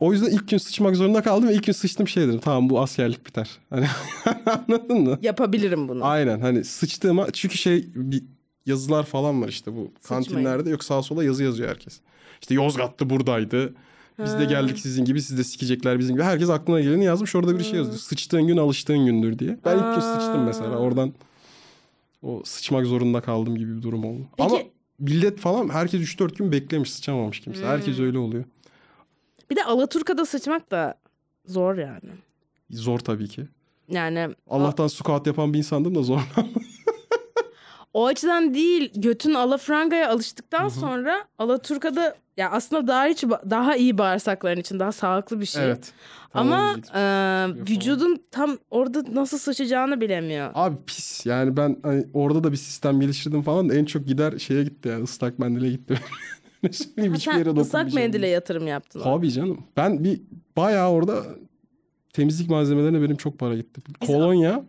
Speaker 2: O yüzden ilk gün sıçmak zorunda kaldım ve ilk gün sıçtım şey dedim. Tamam bu askerlik biter. Hani anladın mı?
Speaker 1: Yapabilirim bunu.
Speaker 2: Aynen hani sıçtığıma çünkü şey bir yazılar falan var işte bu
Speaker 1: Sıçmayın.
Speaker 2: kantinlerde yok sağa sola yazı yazıyor herkes. İşte Yozgat'ta buradaydı. Biz de geldik sizin gibi siz de sikecekler bizim gibi. Herkes aklına geleni yazmış orada bir şey yazıyor. Sıçtığın gün alıştığın gündür diye. Ben ilk kez sıçtım mesela
Speaker 1: Aa.
Speaker 2: oradan o sıçmak zorunda kaldım gibi bir durum oldu.
Speaker 1: Peki-
Speaker 2: Ama millet falan herkes 3-4 gün beklemiş sıçamamış kimse. Herkes
Speaker 1: Hmm.
Speaker 2: öyle oluyor.
Speaker 1: Bir de Alaturka'da sıçmak da zor yani.
Speaker 2: Zor tabii ki.
Speaker 1: Yani
Speaker 2: Allah'tan squat yapan bir insandım da zor.
Speaker 1: O açıdan değil götün alafrangaya alıştıktan sonra alaturkada ya aslında daha hiç daha iyi bağırsakların için daha sağlıklı bir şey.
Speaker 2: Evet. Tam onu
Speaker 1: Ama
Speaker 2: diyecektim.
Speaker 1: e, vücudun tam orada nasıl sıçacağını bilemiyor.
Speaker 2: Abi pis yani ben hani orada da bir sistem geliştirdim falan da en çok gider şeye gitti yani ıslak mendile gitti. Şimdi
Speaker 1: Ha,
Speaker 2: hiçbir yere
Speaker 1: sen ıslak
Speaker 2: dokunmayacağım.
Speaker 1: mendile yatırım yaptın. o.
Speaker 2: Tabii canım. Ben bir bayağı orada temizlik malzemelerine benim çok para gitti. Kolonya,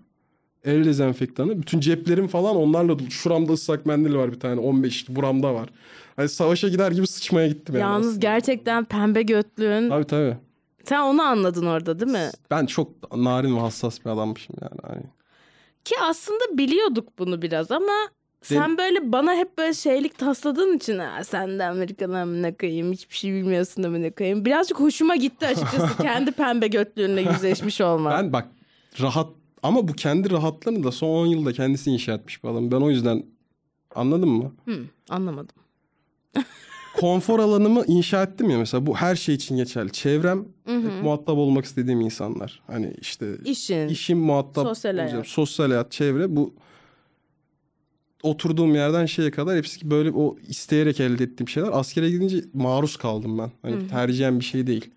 Speaker 2: el dezenfektanı, bütün ceplerim falan onlarla dolu. Şuramda ıslak mendil var bir tane 15 buramda var. Hani savaşa gider gibi sıçmaya gittim yani.
Speaker 1: Yalnız
Speaker 2: aslında.
Speaker 1: gerçekten pembe götlüğün.
Speaker 2: Tabii tabii.
Speaker 1: Sen onu anladın orada değil mi?
Speaker 2: Ben çok narin ve hassas bir adammışım yani. Hani
Speaker 1: Ki aslında biliyorduk bunu biraz ama sen
Speaker 2: Benim-
Speaker 1: böyle bana hep böyle şeylik tasladığın için "Aa, sen de Amerikan amına koyayım hiçbir şey bilmiyorsun amına koyayım. Birazcık hoşuma gitti açıkçası kendi pembe götlüğünle yüzleşmiş olman.
Speaker 2: Ben bak rahat ama bu kendi rahatlığını da son 10 yılda kendisi inşa etmiş bir adam. Ben o yüzden anladın mı?
Speaker 1: Hmm, anlamadım.
Speaker 2: konfor alanımı inşa ettim ya mesela bu her şey için geçerli. Çevrem, hep muhatap olmak istediğim insanlar. Hani işte
Speaker 1: İşin.
Speaker 2: işim muhatap,
Speaker 1: Sosyal
Speaker 2: olacağım.
Speaker 1: hayat.
Speaker 2: sosyal hayat, çevre bu oturduğum yerden şeye kadar hepsi böyle o isteyerek elde ettiğim şeyler. Askere gidince maruz kaldım ben. Hani tercihen bir şey değil.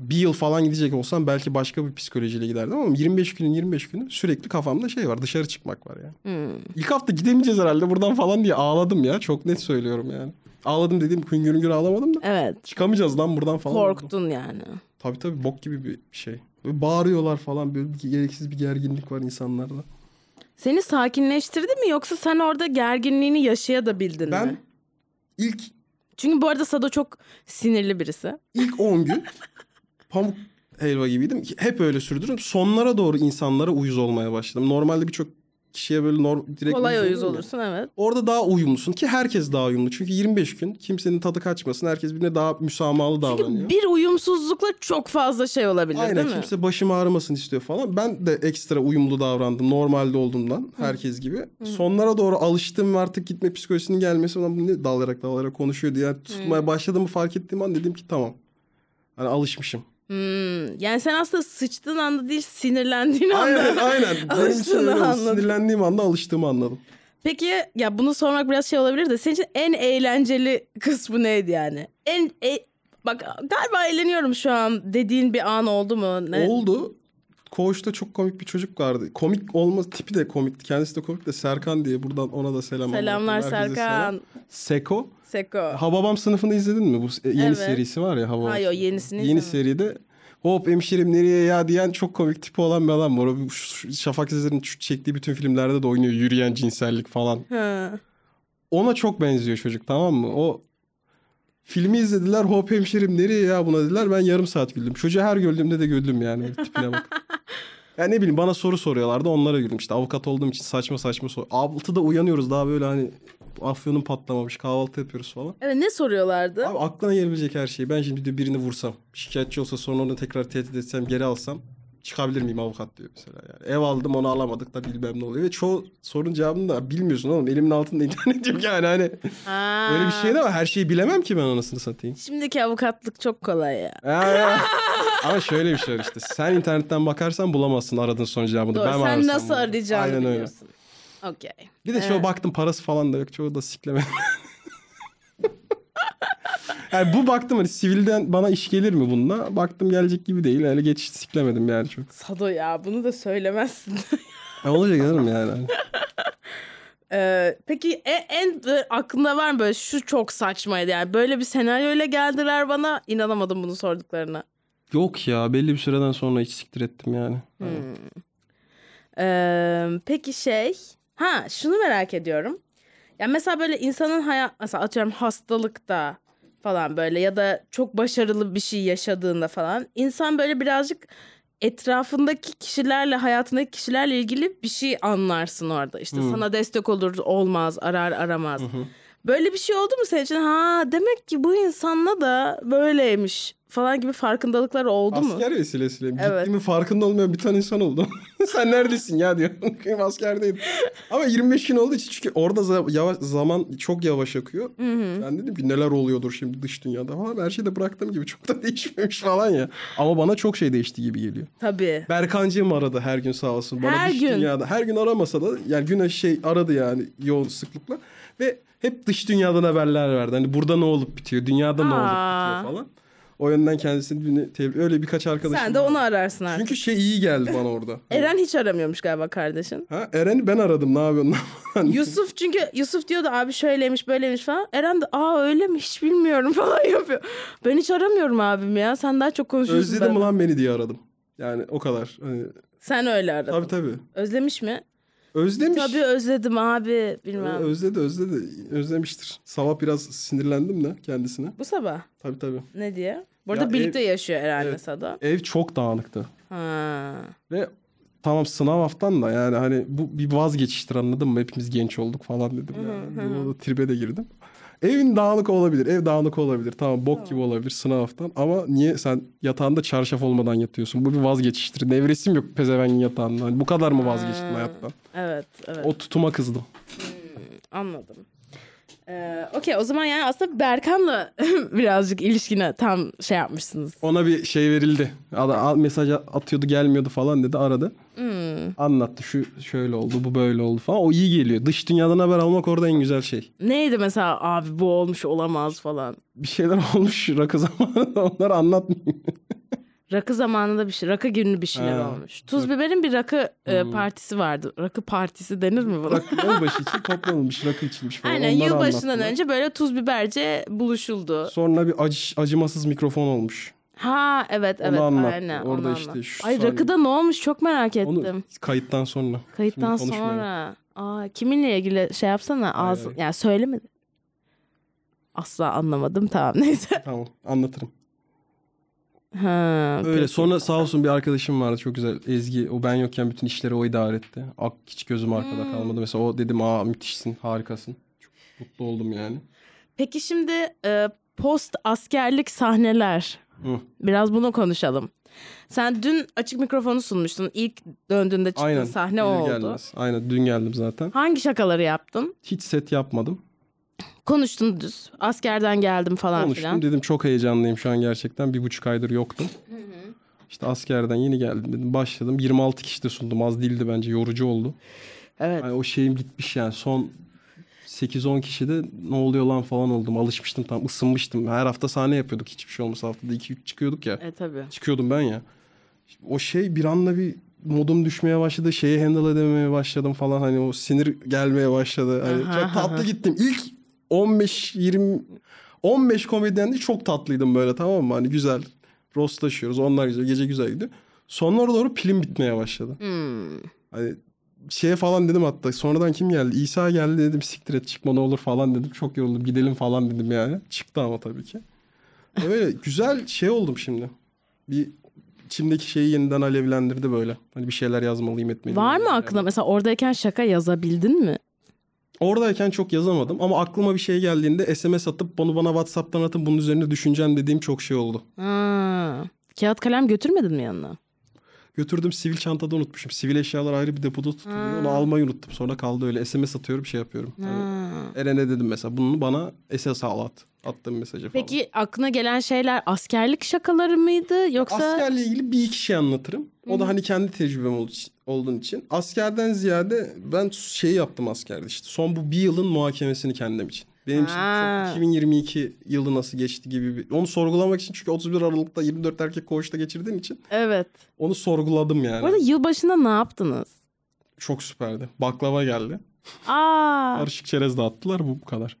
Speaker 2: Bir yıl falan gidecek olsam belki başka bir psikolojiyle giderdim ama 25 günün 25 günü sürekli kafamda şey var dışarı çıkmak var yani.
Speaker 1: Hmm.
Speaker 2: İlk hafta gidemeyeceğiz herhalde buradan falan diye ağladım ya. Çok net söylüyorum yani. Ağladım dediğim hüngür hüngür ağlamadım da.
Speaker 1: Evet
Speaker 2: Çıkamayacağız lan buradan falan. oldu.
Speaker 1: korktun yani.
Speaker 2: Tabii tabii bok gibi bir şey. Böyle bağırıyorlar falan böyle bir gereksiz bir gerginlik var insanlarda.
Speaker 1: Seni sakinleştirdi mi yoksa sen orada gerginliğini yaşaya da bildin
Speaker 2: Ben
Speaker 1: mi?
Speaker 2: ilk
Speaker 1: Çünkü bu arada Sado çok sinirli birisi.
Speaker 2: ilk 10 gün pamuk helva gibiydim. Hep öyle sürdürüm. Sonlara doğru insanlara uyuz olmaya başladım. Normalde birçok kişiye böyle norm, direkt şey
Speaker 1: Kolay oyuz
Speaker 2: olurum ya.
Speaker 1: olursun evet.
Speaker 2: Orada daha uyumlusun ki herkes daha uyumlu. Çünkü 25 gün kimsenin tadı kaçmasın. Herkes birbirine daha müsamahalı davranıyor.
Speaker 1: Çünkü bir uyumsuzlukla çok fazla şey olabilir
Speaker 2: Aynen
Speaker 1: değil mi?
Speaker 2: kimse başım ağrımasın istiyor falan. Ben de ekstra uyumlu davrandım normalde olduğumdan herkes gibi. Sonlara doğru alıştım ve artık gitme psikolojisinin gelmesi falan bu ne dalayarak dalayarak konuşuyor diye yani tutmaya başladığımı fark ettiğim an dedim ki tamam. Hani alışmışım.
Speaker 1: Hmm, yani sen aslında sıçtığın anda değil sinirlendiğin anda.
Speaker 2: Aynen aynen. Benim için
Speaker 1: Alıştığını
Speaker 2: öyle oldu.
Speaker 1: anladım.
Speaker 2: Sinirlendiğim anda alıştığımı anladım.
Speaker 1: Peki ya bunu sormak biraz şey olabilir de senin için en eğlenceli kısmı neydi yani? En e- bak galiba eğleniyorum şu an dediğin bir an oldu mu? Ne?
Speaker 2: Oldu. Koğuşta çok komik bir çocuk vardı. Komik olmaz tipi de komikti. Kendisi de komik de Serkan diye buradan ona da selam.
Speaker 1: Selamlar
Speaker 2: anlatayım. Herkese selam.
Speaker 1: Serkan.
Speaker 2: Seko.
Speaker 1: Seko.
Speaker 2: Hababam sınıfını izledin mi? Bu e, yeni
Speaker 1: Evet.
Speaker 2: serisi var ya Hababam.
Speaker 1: Hayır, o
Speaker 2: sınıfı.
Speaker 1: yenisini
Speaker 2: Yeni
Speaker 1: izlemedim.
Speaker 2: seride hop hemşerim nereye ya diyen çok komik tipi olan bir adam var. O bir- şu- Şafak Sezer'in şu- çektiği bütün filmlerde de oynuyor. Yürüyen cinsellik falan.
Speaker 1: Ha.
Speaker 2: Ona çok benziyor çocuk tamam mı? O filmi izlediler hop hemşerim nereye ya buna dediler. Ben yarım saat güldüm. Çocuğa her güldüğümde de güldüm yani tipine bak. Ya ne bileyim bana soru soruyorlardı onlara güldüm. İşte avukat olduğum için saçma saçma soru. Altıda uyanıyoruz daha böyle hani afyonun patlamamış kahvaltı yapıyoruz falan.
Speaker 1: Evet ne soruyorlardı?
Speaker 2: Abi aklına gelebilecek her şeyi. Ben şimdi de birini vursam, şikayetçi olsa sonra onu tekrar tehdit etsem, geri alsam çıkabilir miyim avukat diyor mesela yani. Ev aldım onu alamadık da bilmem ne oluyor. Ve çoğu sorunun cevabını da bilmiyorsun oğlum. Elimin altında internet yok yani hani.
Speaker 1: Ha.
Speaker 2: Öyle bir şey de var. Her şeyi bilemem ki ben anasını satayım.
Speaker 1: Şimdiki avukatlık çok kolay ya.
Speaker 2: Ya, ya. Ama şöyle bir şey var işte. Sen internetten bakarsan bulamazsın aradığın son cevabını.
Speaker 1: Doğru.
Speaker 2: Ben mi
Speaker 1: Sen
Speaker 2: arasam
Speaker 1: nasıl
Speaker 2: bunu?
Speaker 1: arayacağını
Speaker 2: Aynen öyle.
Speaker 1: biliyorsun. Okey.
Speaker 2: Bir de çoğu baktım parası falan da yok. Çoğu da sikleme. yani bu baktım hani sivilden bana iş gelir mi bununla? Baktım gelecek gibi değil. Öyle geç siklemedim yani çok.
Speaker 1: Sado ya bunu da söylemezsin.
Speaker 2: E olacak canım yani.
Speaker 1: Ee, peki e- en e, aklında var mı böyle şu çok saçmaydı yani böyle bir senaryoyla geldiler bana inanamadım bunu sorduklarına.
Speaker 2: Yok ya belli bir süreden sonra hiç siktir ettim yani.
Speaker 1: Hmm. Ee, peki şey ha şunu merak ediyorum. Ya mesela böyle insanın hayat mesela atıyorum hastalıkta falan böyle ya da çok başarılı bir şey yaşadığında falan insan böyle birazcık etrafındaki kişilerle hayatındaki kişilerle ilgili bir şey anlarsın orada. İşte sana destek olur olmaz arar aramaz. Böyle bir şey oldu mu senin için? Ha demek ki bu insanla da böyleymiş falan gibi farkındalıklar oldu mu?
Speaker 2: Asker vesilesiyle.
Speaker 1: Evet.
Speaker 2: Gittiğimin farkında olmayan bir tane insan oldu. Sen neredesin ya diyor. Kıyım askerdeydim. Ama 25 gün olduğu için çünkü orada za- yavaş, zaman çok yavaş akıyor. Ben dedim ki neler oluyordur şimdi dış dünyada falan. Her şey de bıraktığım gibi çok da değişmemiş falan ya. Ama bana çok şey değişti gibi geliyor.
Speaker 1: Tabii.
Speaker 2: Berkancığım aradı her gün sağ olsun. Bana
Speaker 1: Her
Speaker 2: dış
Speaker 1: gün.
Speaker 2: Dünyada. Her gün aramasa da yani güne şey aradı yani yoğun sıklıkla. Ve hep dış dünyadan haberler verdi. Hani burada ne olup bitiyor, dünyada ne olup
Speaker 1: Aa.
Speaker 2: bitiyor falan. O yönden kendisini tebrik... Öyle birkaç arkadaşım
Speaker 1: Sen de
Speaker 2: var.
Speaker 1: onu E- ararsın artık.
Speaker 2: Çünkü şey iyi geldi bana orada.
Speaker 1: Eren hiç aramıyormuş galiba kardeşin.
Speaker 2: Ha Eren'i ben aradım ne yapıyorsun lan falan.
Speaker 1: Yusuf çünkü Yusuf diyordu abi şöyleymiş böyleymiş falan. Eren de aa öyle mi hiç bilmiyorum falan yapıyor. Ben hiç aramıyorum abim ya. Sen daha çok konuşuyorsun.
Speaker 2: Özledim
Speaker 1: benden.
Speaker 2: ulan beni diye aradım. Yani o kadar. Hani,
Speaker 1: Sen öyle aradın.
Speaker 2: tabii tabii.
Speaker 1: Özlemiş mi?
Speaker 2: Özlemiş.
Speaker 1: Tabii özledim abi
Speaker 2: Ee,
Speaker 1: bilmem.
Speaker 2: Özledi özledi. Özlemiştir. Sabah biraz sinirlendim de kendisine.
Speaker 1: Bu sabah
Speaker 2: Tabii tabii.
Speaker 1: ne diye? Bu arada
Speaker 2: Ya
Speaker 1: birlikte yaşıyor Eren
Speaker 2: Evet.
Speaker 1: Nisa'da.
Speaker 2: Ev çok dağınıktı.
Speaker 1: Ha.
Speaker 2: Ve tamam sınav haftan da yani hani bu bir vazgeçiştir anladın mı? Hepimiz genç olduk falan dedim. Yani. Yola da tribe de girdim. Evin dağınık olabilir. Ev dağınık olabilir. Tamam bok gibi olabilir sınav haftan. Ama niye sen yatağında çarşaf olmadan yatıyorsun? Bu bir vazgeçiştir. Nevresim yok pezevengin yatağında. Hani bu kadar mı vazgeçtin hayattan?
Speaker 1: Evet evet
Speaker 2: O tutuma kızdım.
Speaker 1: anladım. Ee, Okey o zaman yani aslında Berkan'la birazcık ilişkine tam şey yapmışsınız.
Speaker 2: Ona bir şey verildi. Ada- a- Mesaj atıyordu gelmiyordu falan dedi aradı. Anlattı şu şöyle oldu bu böyle oldu falan. O iyi geliyor. Dış dünyadan haber almak orada en güzel şey.
Speaker 1: Neydi mesela abi bu olmuş olamaz falan.
Speaker 2: bir şeyler olmuş rakı zamanında onları anlatmayayım.
Speaker 1: Rakı zamanında bir şey, rakı günü bir şeyler
Speaker 2: Ha, Hmm.
Speaker 1: olmuş. Tuz biberin bir rakı e, partisi vardı. Rakı partisi denir mi buna?
Speaker 2: Rakı yılbaşı için toplanılmış rakı içilmiş falan.
Speaker 1: Aynen
Speaker 2: Onları
Speaker 1: yılbaşından
Speaker 2: anlattılar.
Speaker 1: önce böyle tuz biberce buluşuldu.
Speaker 2: Sonra bir acı, acımasız mikrofon olmuş.
Speaker 1: Ha evet
Speaker 2: Onu
Speaker 1: evet
Speaker 2: anlattı.
Speaker 1: aynen.
Speaker 2: Orada
Speaker 1: onu
Speaker 2: işte
Speaker 1: anlattı.
Speaker 2: şu
Speaker 1: Ay
Speaker 2: saniye-
Speaker 1: rakıda ne olmuş çok merak ettim.
Speaker 2: Onu kayıttan sonra.
Speaker 1: Kayıttan
Speaker 2: Şimdi konuşmayalım.
Speaker 1: sonra. Aa, kiminle ilgili şey yapsana ağız
Speaker 2: ay.
Speaker 1: yani söylemedi. Asla anlamadım tamam neyse.
Speaker 2: Tamam anlatırım.
Speaker 1: Ha,
Speaker 2: Öyle sonra sağ olsun bir arkadaşım vardı çok güzel. Ezgi o ben yokken bütün işleri o idare etti. Ak, hiç gözüm arkada
Speaker 1: Hmm.
Speaker 2: kalmadı. Mesela o dedim aa müthişsin harikasın. Çok mutlu oldum yani.
Speaker 1: Peki şimdi e, post askerlik sahneler.
Speaker 2: Hı.
Speaker 1: Biraz bunu konuşalım. Sen dün açık mikrofonu sunmuştun. İlk döndüğünde çıktığın
Speaker 2: Aynen.
Speaker 1: sahne
Speaker 2: gelir
Speaker 1: o oldu.
Speaker 2: gelmez. Aynen dün geldim zaten.
Speaker 1: Hangi şakaları yaptın?
Speaker 2: Hiç set yapmadım.
Speaker 1: Konuştun düz. Askerden geldim falan
Speaker 2: Konuştum
Speaker 1: filan.
Speaker 2: dedim çok heyecanlıyım şu an gerçekten. Bir buçuk aydır yoktum. İşte askerden yeni geldim dedim. Başladım. 26 kişi de sundum. Az değildi bence. Yorucu oldu.
Speaker 1: Evet.
Speaker 2: Hani o şeyim gitmiş yani. Son 8-10 kişide ne oluyor lan falan oldum. Alışmıştım tam ısınmıştım. Her hafta sahne yapıyorduk. Hiçbir şey olmasa haftada 2-3 çıkıyorduk ya.
Speaker 1: E tabii.
Speaker 2: Çıkıyordum ben ya. O şey bir anda bir modum düşmeye başladı. Şeyi handle edememeye başladım falan. Hani o sinir gelmeye başladı. Hani
Speaker 1: Aha,
Speaker 2: çok tatlı
Speaker 1: aha.
Speaker 2: gittim. İlk 15-20 15 komedyen de çok tatlıydım böyle tamam mı? Hani güzel. Rostlaşıyoruz. Onlar güzel. Gece güzel gidiyor. Sonlara doğru pilim bitmeye başladı.
Speaker 1: Hmm.
Speaker 2: Hani şeye falan dedim hatta. Sonradan kim geldi? İsa geldi dedim. Siktir et çıkma ne olur falan dedim. Çok yoruldum. Gidelim falan dedim yani. Çıktı ama tabii ki. Öyle güzel şey oldum şimdi. Bir içimdeki şeyi yeniden alevlendirdi böyle. Hani bir şeyler yazmalıyım etmeliyim.
Speaker 1: Var mı
Speaker 2: Yani.
Speaker 1: aklında mesela oradayken şaka yazabildin mi?
Speaker 2: Oradayken çok yazamadım ama aklıma bir şey geldiğinde SMS atıp bunu bana WhatsApp'tan atın bunun üzerine düşüneceğim dediğim çok şey oldu.
Speaker 1: Ha. Kağıt kalem götürmedin mi yanına?
Speaker 2: Götürdüm sivil çantada unutmuşum. Sivil eşyalar ayrı bir depoda tutuluyor.
Speaker 1: Ha.
Speaker 2: Onu almayı unuttum. Sonra kaldı öyle. SMS atıyorum şey yapıyorum. Hani
Speaker 1: Ha.
Speaker 2: Eren'e dedim mesela bunu bana SS al at. Attığım mesajı falan.
Speaker 1: Peki aklına gelen şeyler askerlik şakaları mıydı yoksa
Speaker 2: Askerle ilgili bir iki şey anlatırım. O da hani kendi tecrübem olduğu için- olduğun için. Askerden ziyade ben şey yaptım askerde işte. Son bu bir yılın muhakemesini kendim için. Benim için
Speaker 1: Ha.
Speaker 2: çok 2022 yılı nasıl geçti gibi bir... Onu sorgulamak için çünkü 31 Aralık'ta 24 erkek koğuşta geçirdiğim için
Speaker 1: Evet.
Speaker 2: onu sorguladım yani.
Speaker 1: Bu arada yılbaşında ne yaptınız?
Speaker 2: Çok süperdi. Baklava geldi.
Speaker 1: Aa.
Speaker 2: Karışık çerez dağıttılar bu bu kadar.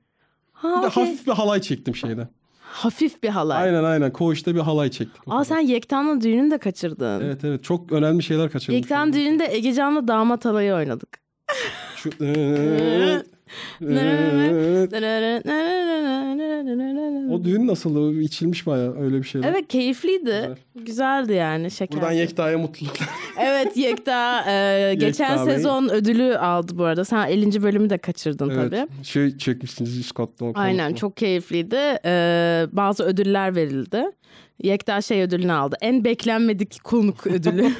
Speaker 1: Ha,
Speaker 2: Bir de
Speaker 1: okey.
Speaker 2: hafif bir halay çektim şeyde.
Speaker 1: Hafif bir halay.
Speaker 2: Aynen aynen koğuşta bir halay çektik. o
Speaker 1: Aa
Speaker 2: kadar.
Speaker 1: sen Yekta'nın düğünü de kaçırdın.
Speaker 2: Evet evet çok önemli şeyler kaçırdım.
Speaker 1: Yekta'nın düğününde Egecan'la damat halayı oynadık.
Speaker 2: Şu... Evet, evet. O düğün nasıldı? İçilmiş bayağı öyle bir şeyler.
Speaker 1: Evet keyifliydi. Güzeldi yani şeker.
Speaker 2: Buradan Yekta'ya mutluluklar.
Speaker 1: Evet Yekta e, geçen
Speaker 2: Yekta Bey.
Speaker 1: sezon ödülü aldı bu arada. Sen 50. bölümü de kaçırdın tabii.
Speaker 2: evet. Şey çekmişsiniz Scott'la. o
Speaker 1: Aynen
Speaker 2: konuşma.
Speaker 1: çok keyifliydi. Ee, bazı ödüller verildi. Yekta şey ödülünü aldı. En beklenmedik konuk ödülü.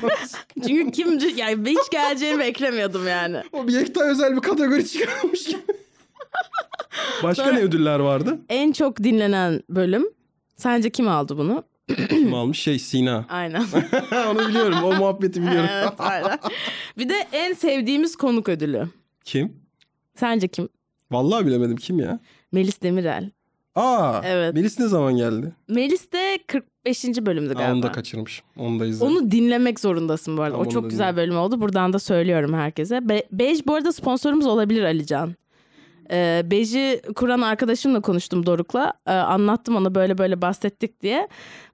Speaker 1: Çünkü kim yani ben hiç geleceğini beklemiyordum yani.
Speaker 2: O bir yekta özel bir kategori çıkarmış gibi. Başka
Speaker 1: Sonra-
Speaker 2: ne ödüller vardı?
Speaker 1: En çok dinlenen bölüm. Sence kim aldı bunu?
Speaker 2: Kim almış? Şey Sina.
Speaker 1: Aynen.
Speaker 2: Onu biliyorum. O muhabbeti biliyorum.
Speaker 1: evet, aynen. Bir de en sevdiğimiz konuk ödülü.
Speaker 2: Kim?
Speaker 1: Sence kim?
Speaker 2: Vallahi bilemedim kim ya.
Speaker 1: Melis Demirel.
Speaker 2: Aa,
Speaker 1: Evet.
Speaker 2: Melis ne zaman geldi?
Speaker 1: Melis de 45. bölümdü
Speaker 2: Aa,
Speaker 1: galiba.
Speaker 2: onu da kaçırmış. Onu da izledim.
Speaker 1: Onu dinlemek zorundasın bu arada.
Speaker 2: Tamam,
Speaker 1: o
Speaker 2: onu
Speaker 1: çok güzel
Speaker 2: dinleyeyim.
Speaker 1: bölüm oldu. Buradan da söylüyorum herkese. Be- Bej bu arada sponsorumuz olabilir Alican. Ee, Bej'i kuran arkadaşımla konuştum Doruk'la. Ee, anlattım ona böyle böyle bahsettik diye.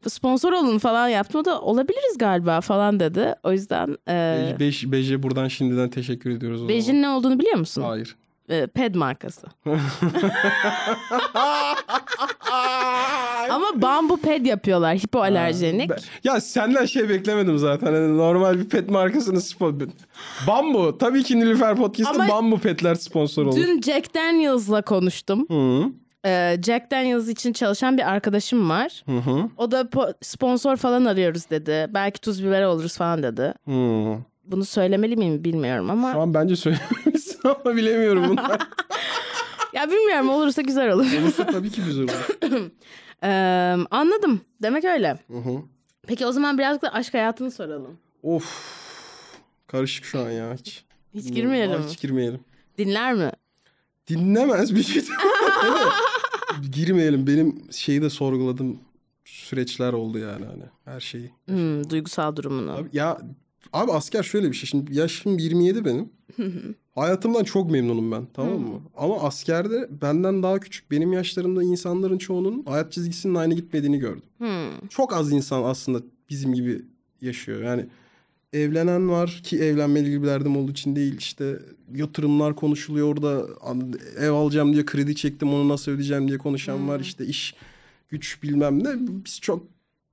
Speaker 1: Sponsor olun falan yaptım. O da olabiliriz galiba falan dedi. O yüzden e,
Speaker 2: Bej- Bej- Bej'e buradan şimdiden teşekkür ediyoruz o zaman.
Speaker 1: Bej'in ne olduğunu biliyor musun?
Speaker 2: Hayır.
Speaker 1: Ee, ped markası. Ama bambu ped yapıyorlar hipoalerjenik.
Speaker 2: Ben- ya senden şey beklemedim zaten. Hani normal bir pet markasının sponsor. Bambu. Tabii ki Nilüfer Podcast'ın
Speaker 1: Ama-
Speaker 2: Bambu Petler sponsor olur.
Speaker 1: Dün Jack Daniels'la konuştum.
Speaker 2: Hı
Speaker 1: Ee, Jack Daniels için çalışan bir arkadaşım var.
Speaker 2: hı hı.
Speaker 1: O da po- sponsor falan arıyoruz dedi. Belki tuz biber oluruz falan dedi.
Speaker 2: hı.
Speaker 1: Bunu söylemeli miyim bilmiyorum
Speaker 2: Şu
Speaker 1: ama.
Speaker 2: an bence söylememişsin ama bilemiyorum bunlar.
Speaker 1: Ya bilmiyorum olursa güzel olur.
Speaker 2: Olursa tabii ki güzel olur.
Speaker 1: Ee, anladım. Demek öyle.
Speaker 2: Hı hı.
Speaker 1: Peki o zaman birazcık da aşk hayatını soralım.
Speaker 2: Of. Karışık şu an ya hiç.
Speaker 1: Hiç girmeyelim mi?
Speaker 2: Hiç girmeyelim.
Speaker 1: Dinler mi?
Speaker 2: Dinlemez bir şey. de- Değil mi? girmeyelim. Benim şeyi de sorguladım süreçler oldu yani hani her şeyi.
Speaker 1: Hmm, duygusal durumunu.
Speaker 2: Abi, ya abi asker şöyle bir şey. Şimdi yaşım 27 benim. Hayatımdan çok memnunum ben tamam mı? Ama askerde benden daha küçük benim yaşlarımda insanların çoğunun hayat çizgisinin aynı gitmediğini gördüm.
Speaker 1: Hmm.
Speaker 2: Çok az insan aslında bizim gibi yaşıyor. Yani evlenen var ki evlenmeli gibi derdim olduğu için değil. İşte yatırımlar konuşuluyor orada ev alacağım diye kredi çektim onu nasıl ödeyeceğim diye konuşan var. İşte iş güç bilmem ne. Biz çok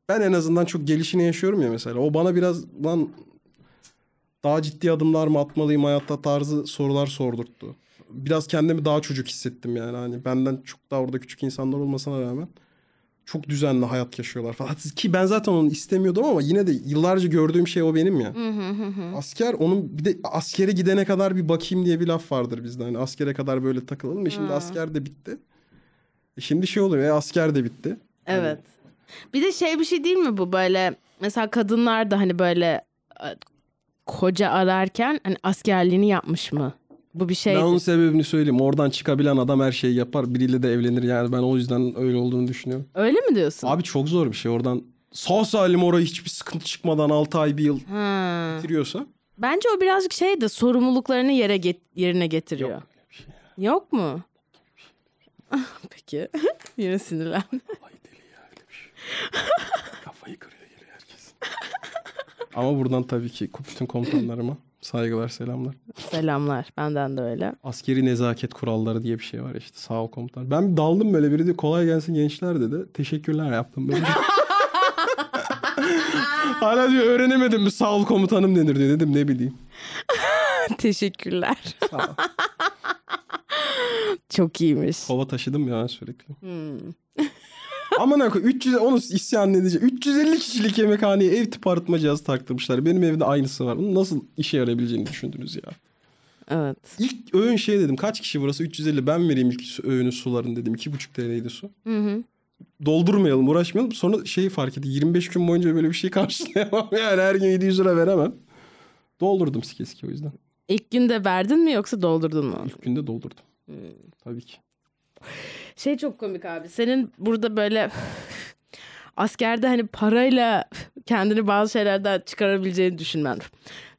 Speaker 2: ben en azından çok gelişini yaşıyorum ya mesela. O bana biraz lan daha ciddi adımlar mı atmalıyım hayatta tarzı sorular sordurttu. Biraz kendimi daha çocuk hissettim yani. Hani benden çok daha orada küçük insanlar olmasına rağmen çok düzenli hayat yaşıyorlar falan. Ki ben zaten onu istemiyordum ama yine de yıllarca gördüğüm şey o benim ya. Asker onun bir de askere gidene kadar bir bakayım diye bir laf vardır bizde. Hani askere kadar böyle takılalım. E şimdi asker de bitti. E şimdi şey oluyor ya asker de bitti.
Speaker 1: Evet. Bir de şey bir şey değil mi bu böyle mesela kadınlar da hani böyle e, koca ararken hani askerliğini yapmış mı? Bu bir şey.
Speaker 2: Ben onun sebebini söyleyeyim. Oradan çıkabilen adam her şeyi yapar. Biriyle de evlenir yani. Ben o yüzden öyle olduğunu düşünüyorum.
Speaker 1: Öyle mi diyorsun?
Speaker 2: Abi çok zor bir şey. Oradan sağ salim oraya hiçbir sıkıntı çıkmadan 6 ay bir yıl
Speaker 1: Ha.
Speaker 2: bitiriyorsa.
Speaker 1: Bence o birazcık şey de sorumluluklarını yere get- yerine getiriyor. Yok, mu? Ah, Peki. Yine sinirlen.
Speaker 2: şey. Kafayı kırıyor herkes. Ama buradan tabii ki bütün komutanlarıma saygılar selamlar.
Speaker 1: Selamlar. Benden de öyle.
Speaker 2: Askeri nezaket kuralları diye bir şey var işte sağ ol komutan. Ben bir daldım böyle biri diyor kolay gelsin gençler dedi. Teşekkürler yaptım böyle. Hala diyor öğrenemedim mi sağ ol komutanım denir diyor. Dedim ne bileyim.
Speaker 1: Teşekkürler.
Speaker 2: Sağ ol.
Speaker 1: Çok iyiymiş.
Speaker 2: Kova taşıdım ya sürekli. Aman akı 300 onu isyan edecek. 350 kişilik yemekhaneye ev tipi arıtma cihazı taktırmışlar. Benim evde aynısı var. Bunu nasıl işe yarayabileceğini düşündünüz ya.
Speaker 1: Evet.
Speaker 2: İlk öğün şey dedim. Kaç kişi burası? 350 ben vereyim ilk su- öğünün suların dedim. 2,5 TL'ydi su.
Speaker 1: Hı hı.
Speaker 2: Doldurmayalım uğraşmayalım. Sonra şeyi fark etti. 25 gün boyunca böyle bir şey karşılayamam. Yani her gün 700 lira veremem. Doldurdum sike sike o yüzden.
Speaker 1: İlk günde verdin mi yoksa doldurdun mu?
Speaker 2: İlk günde doldurdum. Tabii ki.
Speaker 1: Şey çok komik abi. Senin burada böyle askerde hani parayla kendini bazı şeylerden çıkarabileceğini düşünmen.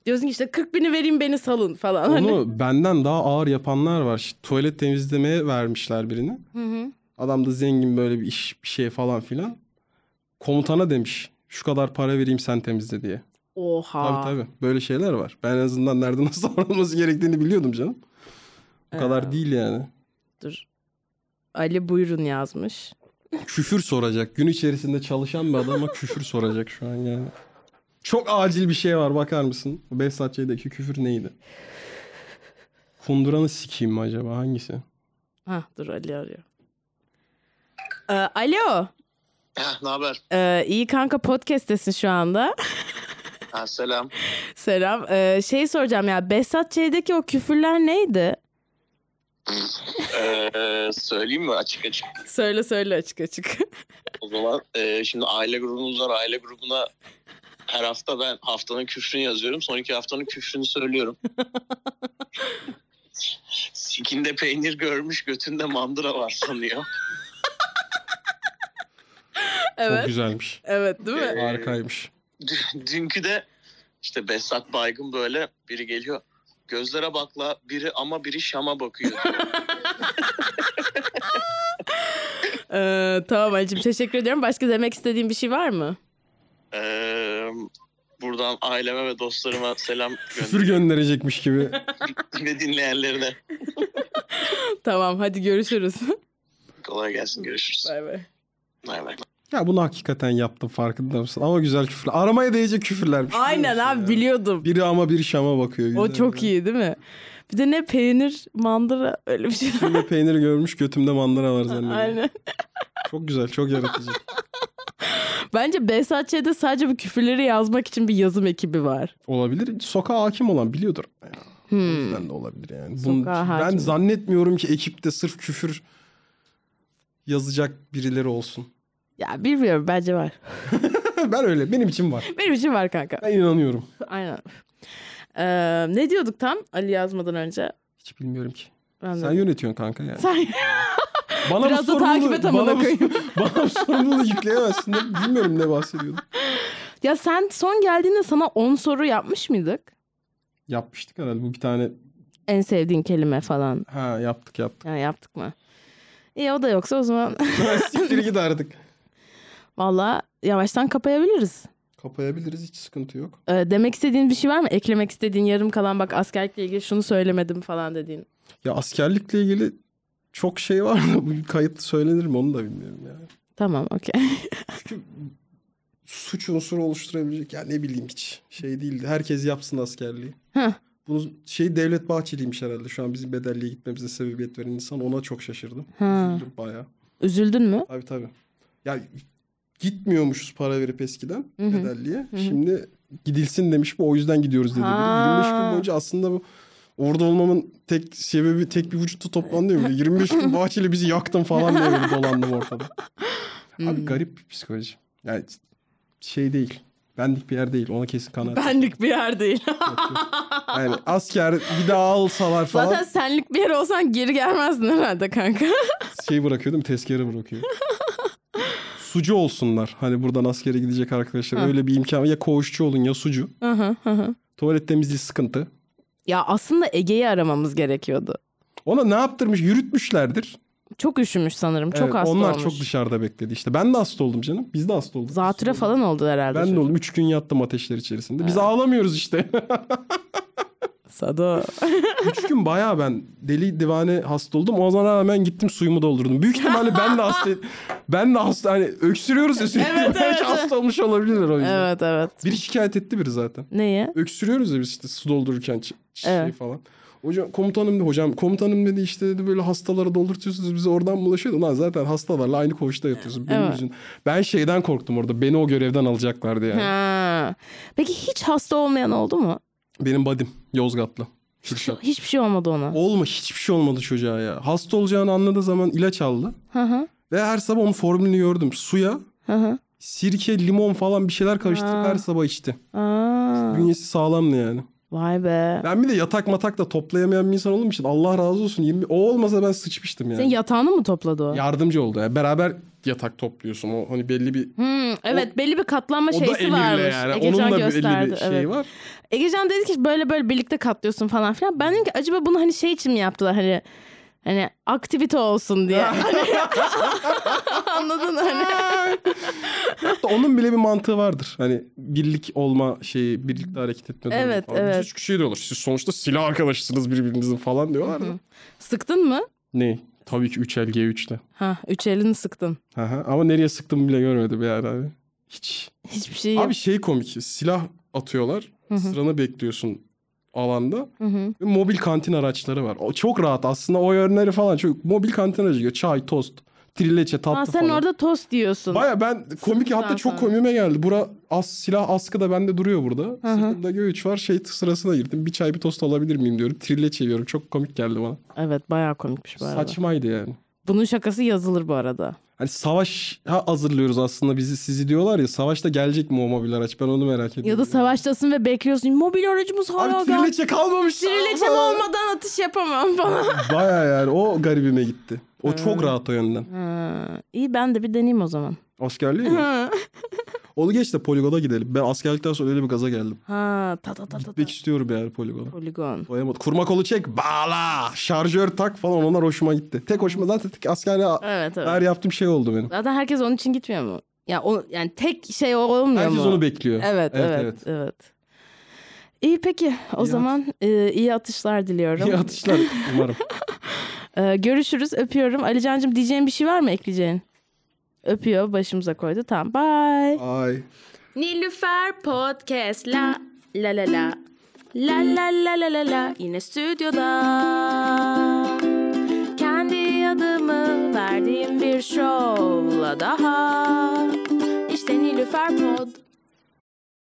Speaker 1: Diyorsun ki işte 40 bini vereyim beni salın falan. Hani.
Speaker 2: Onu benden daha ağır yapanlar var. Şimdi tuvalet temizlemeye vermişler birini. Adam da zengin böyle bir iş bir şey falan filan. Komutana demiş şu kadar para vereyim sen temizle diye.
Speaker 1: Oha.
Speaker 2: Tabii tabii böyle şeyler var. Ben en azından nerede nasıl davranılması gerektiğini biliyordum canım. Bu kadar değil yani.
Speaker 1: Dur. Ali buyurun yazmış.
Speaker 2: Küfür soracak. Gün içerisinde çalışan bir adama küfür soracak şu an yani. Çok acil bir şey var bakar mısın? Bu Behzat Ç'deki küfür neydi? Kunduranı sikeyim mi acaba hangisi?
Speaker 1: Ha dur Ali arıyor. Ee, alo.
Speaker 4: Heh, ne haber?
Speaker 1: Ee, iyi kanka podcast'tesin şu anda.
Speaker 4: Ha, selam.
Speaker 1: Selam. Ee, şey soracağım ya Behzat Ç'deki o küfürler neydi?
Speaker 4: Ee, söyleyeyim mi açık açık?
Speaker 1: Söyle söyle açık açık.
Speaker 4: O zaman e, şimdi aile grubumuz var. Aile grubuna her hafta ben haftanın küfrünü yazıyorum. Son iki haftanın küfrünü söylüyorum. Sikinde peynir görmüş götünde mandıra var sanıyor.
Speaker 2: Çok
Speaker 1: evet.
Speaker 2: güzelmiş.
Speaker 1: Evet değil mi?
Speaker 4: Ee,
Speaker 2: Harikaymış.
Speaker 4: Dü- Dünkü de işte Besat Baygın böyle biri geliyor. Gözlere bakla biri ama biri Şam'a bakıyor.
Speaker 1: Ee, tamam Ali'cim teşekkür ediyorum. Başka demek istediğin bir şey var mı?
Speaker 4: Ee, buradan aileme ve dostlarıma selam
Speaker 2: Küfür
Speaker 4: gönderiyorum
Speaker 2: gönderecekmiş gibi.
Speaker 4: ve dinleyenlerine.
Speaker 1: Tamam hadi görüşürüz.
Speaker 4: Kolay gelsin görüşürüz.
Speaker 1: bay bay.
Speaker 4: Bay bay.
Speaker 2: Ya bunu hakikaten yaptım farkında mısın? Ama güzel küfürler. Aramaya değecek küfürlermiş. biliyor
Speaker 1: Aynen
Speaker 2: musun
Speaker 1: abi
Speaker 2: ya?
Speaker 1: biliyordum.
Speaker 2: Biri ama bir şama bakıyor.
Speaker 1: O
Speaker 2: Güzel
Speaker 1: çok
Speaker 2: ya.
Speaker 1: iyi değil mi? Bir de ne peynir, mandıra öyle bir şey.
Speaker 2: Şimdi peynir görmüş götümde mandıra var zannediyorum.
Speaker 1: Aynen.
Speaker 2: Çok güzel çok yaratıcı.
Speaker 1: Bence Behzatçı'da sadece bu küfürleri yazmak için bir yazım ekibi var.
Speaker 2: olabilir. Sokağa hakim olan biliyordur. O
Speaker 1: Hmm.
Speaker 2: yüzden de olabilir yani.
Speaker 1: Sokağa
Speaker 2: Bunun, ben
Speaker 1: hakim.
Speaker 2: zannetmiyorum ki ekipte sırf küfür yazacak birileri olsun.
Speaker 1: Ya bilmiyorum bence var.
Speaker 2: ben öyle benim için var.
Speaker 1: Benim için var kanka.
Speaker 2: Ben inanıyorum.
Speaker 1: Aynen. Ee, ne diyorduk tam Ali yazmadan önce?
Speaker 2: Hiç bilmiyorum ki.
Speaker 1: Ben de-
Speaker 2: Sen yönetiyorsun kanka yani.
Speaker 1: Sen-
Speaker 2: Bana
Speaker 1: Biraz da
Speaker 2: sorumluluğu-
Speaker 1: takip et amına
Speaker 2: bana bu-
Speaker 1: koyayım.
Speaker 2: Bana bu sorumluluğu yükleyemezsin. de Bilmiyorum ne bahsediyordum.
Speaker 1: ya sen son geldiğinde sana 10 soru yapmış mıydık?
Speaker 2: Yapmıştık herhalde bu bir tane.
Speaker 1: En sevdiğin kelime falan.
Speaker 2: Ha yaptık yaptık.
Speaker 1: Yani yaptık mı? İyi o da yoksa o zaman
Speaker 2: Siktir git artık.
Speaker 1: valla yavaştan kapayabiliriz.
Speaker 2: Kapayabiliriz hiç sıkıntı yok.
Speaker 1: Ee, demek istediğin bir şey var mı? Eklemek istediğin yarım kalan bak askerlikle ilgili şunu söylemedim falan dediğin.
Speaker 2: Ya askerlikle ilgili çok şey var da bu kayıt söylenir mi onu da bilmiyorum yani.
Speaker 1: Tamam okey.
Speaker 2: Çünkü suç unsuru oluşturabilecek ya ne bileyim hiç şey değildi. Herkes yapsın askerliği.
Speaker 1: Heh.
Speaker 2: Bunu şey Devlet Bahçeli'ymiş herhalde. Şu an bizim bedelliye gitmemize sebebiyet veren insan ona çok şaşırdım.
Speaker 1: Ha.
Speaker 2: Üzüldüm bayağı.
Speaker 1: Üzüldün mü?
Speaker 2: Tabii tabii. Ya gitmiyormuşuz para verip eskiden
Speaker 1: Hı hı.
Speaker 2: bedelliye.
Speaker 1: hı.
Speaker 2: Şimdi gidilsin demiş bu o yüzden gidiyoruz dedi.
Speaker 1: Ha.
Speaker 2: 25 gün boyunca aslında bu orada olmamın tek sebebi tek bir vücutta toplandı mı? 25 gün Bahçeli bizi yaktın falan diye böyle dolandım ortada. Abi
Speaker 1: Hmm.
Speaker 2: garip bir psikoloji. Yani şey değil. Benlik bir yer değil. Ona kesin kanaat.
Speaker 1: Benlik bir yer değil.
Speaker 2: Yani asker bir daha alsalar falan
Speaker 1: Zaten senlik bir yer olsan geri gelmezdin herhalde kanka.
Speaker 2: şey bırakıyor değil mi? Tezkere bırakıyor. sucu olsunlar. Hani buradan askere gidecek arkadaşlar.
Speaker 1: Ha.
Speaker 2: Öyle bir imkan. Ya koğuşçu olun ya sucu.
Speaker 1: Hı hı, hı hı.
Speaker 2: Tuvalet temizliği sıkıntı.
Speaker 1: ya aslında Ege'yi aramamız gerekiyordu.
Speaker 2: Ona ne yaptırmış? Yürütmüşlerdir.
Speaker 1: Çok üşümüş sanırım. Çok
Speaker 2: Evet,
Speaker 1: hasta
Speaker 2: Onlar
Speaker 1: olmuş.
Speaker 2: çok dışarıda bekledi işte. Ben de hasta oldum canım. Biz de hasta olduk.
Speaker 1: Zatüre falan oldu herhalde.
Speaker 2: Ben de
Speaker 1: çocuk.
Speaker 2: oldum. Üç gün yattım ateşler içerisinde. Biz ağlamıyoruz işte.
Speaker 1: Sado.
Speaker 2: Üç gün bayağı ben deli divane hasta oldum. O zaman rağmen gittim suyumu doldurdum. Büyük ihtimalle ben de hasta... ben de hasta... Hani öksürüyoruz ya sürekli.
Speaker 1: Evet,
Speaker 2: Belki
Speaker 1: evet, evet.
Speaker 2: hasta olmuş olabilirler o yüzden.
Speaker 1: evet evet.
Speaker 2: Biri şikayet etti biri zaten.
Speaker 1: Neye?
Speaker 2: öksürüyoruz ya biz işte su doldururken ç- şey
Speaker 1: Evet.
Speaker 2: falan. Hocam komutanım dedi hocam komutanım dedi işte dedi böyle hastalara doldurtuyorsunuz bize oradan bulaşıyor. Lan zaten hastalarla aynı koğuşta yatıyorsun. Benim
Speaker 1: Evet.
Speaker 2: yüzüm- Ben şeyden korktum orada. Beni o görevden alacaklardı yani.
Speaker 1: Ha. Peki hiç hasta olmayan oldu mu?
Speaker 2: Benim badim Yozgatlı. Kürşat.
Speaker 1: Hiçbir şey olmadı ona.
Speaker 2: Olma hiçbir şey olmadı çocuğa ya. Hasta olacağını anladığı zaman ilaç aldı.
Speaker 1: Hı hı.
Speaker 2: Ve her sabah onun formülünü gördüm. Suya
Speaker 1: Hı hı.
Speaker 2: sirke, limon falan bir şeyler karıştırıp
Speaker 1: Ha.
Speaker 2: her sabah içti.
Speaker 1: Aa.
Speaker 2: Bünyesi sağlamdı yani.
Speaker 1: Vay be.
Speaker 2: Ben bir de yatak matak da toplayamayan bir insan olduğum için Allah razı olsun. 20... O olmasa ben sıçmıştım yani.
Speaker 1: Senin yatağını mı topladı o?
Speaker 2: Yardımcı oldu. Yani. Beraber yatak topluyorsun. O hani belli bir...
Speaker 1: Hmm, evet belli bir katlanma
Speaker 2: O da
Speaker 1: şeysi
Speaker 2: emirle
Speaker 1: varmış.
Speaker 2: yani.
Speaker 1: Egecan
Speaker 2: Onun da belli
Speaker 1: gösterdi.
Speaker 2: bir şey
Speaker 1: evet.
Speaker 2: var.
Speaker 1: Egecan dedi ki böyle böyle birlikte katlıyorsun falan filan. Ben dedim ki acaba bunu hani şey için mi yaptılar hani hani aktivite olsun diye. Hani- Anladın hani.
Speaker 2: Hatta onun bile bir mantığı vardır. Hani birlik olma şeyi, birlikte hareket etme durumu
Speaker 1: Evet,
Speaker 2: falan.
Speaker 1: evet.
Speaker 2: Biz üç kişi de olur. Siz sonuçta silah arkadaşısınız birbirinizin falan diyorlar da.
Speaker 1: Sıktın mı?
Speaker 2: Ne? Tabii ki 3 lg 3'le.
Speaker 1: Ha üç elini sıktın.
Speaker 2: Ama nereye sıktığımı bile görmedim yani. Hani. Hiç.
Speaker 1: Hiçbir şey yok.
Speaker 2: Abi şey komik. Silah atıyorlar.
Speaker 1: Hı hı.
Speaker 2: Sıranı bekliyorsun alanda.
Speaker 1: Hı hı.
Speaker 2: Ve mobil kantin araçları var. O çok rahat aslında o yönleri falan çok. Mobil kantin aracı diyor. Çay, tost. Trileçe tatlı
Speaker 1: Aa, sen
Speaker 2: falan.
Speaker 1: orada tost diyorsun.
Speaker 2: Baya ben komik
Speaker 1: Sıktıktan
Speaker 2: hatta çok
Speaker 1: sonra.
Speaker 2: komiğime geldi. Bura as, silah askı da bende duruyor burada.
Speaker 1: Hı hı.
Speaker 2: Sırtımda göğüç var şey sırasına girdim. Bir çay bir tost alabilir miyim diyorum. Trille çeviriyorum. Çok komik geldi bana.
Speaker 1: Evet bayağı komikmiş bu arada.
Speaker 2: Saçmaydı yani.
Speaker 1: Bunun şakası yazılır bu arada.
Speaker 2: Hani savaş hazırlıyoruz aslında bizi sizi diyorlar ya. Savaşta gelecek mi o mobil araç? Ben onu merak ediyorum.
Speaker 1: Ya da savaştasın ve bekliyorsun. Mobil aracımız hala
Speaker 2: Abi
Speaker 1: geldi.
Speaker 2: trileçe kalmamış.
Speaker 1: Trileçem olmadan atış yapamam falan.
Speaker 2: Baya yani o garibime gitti. O çok rahat o yönden.
Speaker 1: Ha, iyi ben de bir deneyeyim o zaman.
Speaker 2: Askerliği mi?
Speaker 1: Ha.
Speaker 2: Onu geç de poligoda gidelim. Ben askerlikten sonra öyle bir gaza geldim.
Speaker 1: Ha ta ta ta ta. ta.
Speaker 2: Gitmek istiyorum yani poligona.
Speaker 1: Poligon.
Speaker 2: Doyamadım. Kurma kolu çek, bağla, şarjör tak falan onlar hoşuma gitti. Tek hoşuma zaten tek askerliğe
Speaker 1: Evet evet.
Speaker 2: her yaptığım şey oldu benim.
Speaker 1: Zaten herkes onun için gitmiyor mu? Ya o yani tek şey o olmuyor
Speaker 2: Herkes
Speaker 1: mu?
Speaker 2: onu bekliyor.
Speaker 1: Evet evet evet. İyi peki o
Speaker 2: at-
Speaker 1: zaman e, iyi atışlar diliyorum.
Speaker 2: İyi atışlar umarım.
Speaker 1: E, görüşürüz öpüyorum. Ali Can'cığım diyeceğin bir şey var mı ekleyeceğin? Öpüyor başımıza koydu tamam bye.
Speaker 2: Ay.
Speaker 1: Nilüfer Podcast la la la la la la la la la la yine stüdyoda kendi adımı verdiğim bir şovla daha işte Nilüfer Pod.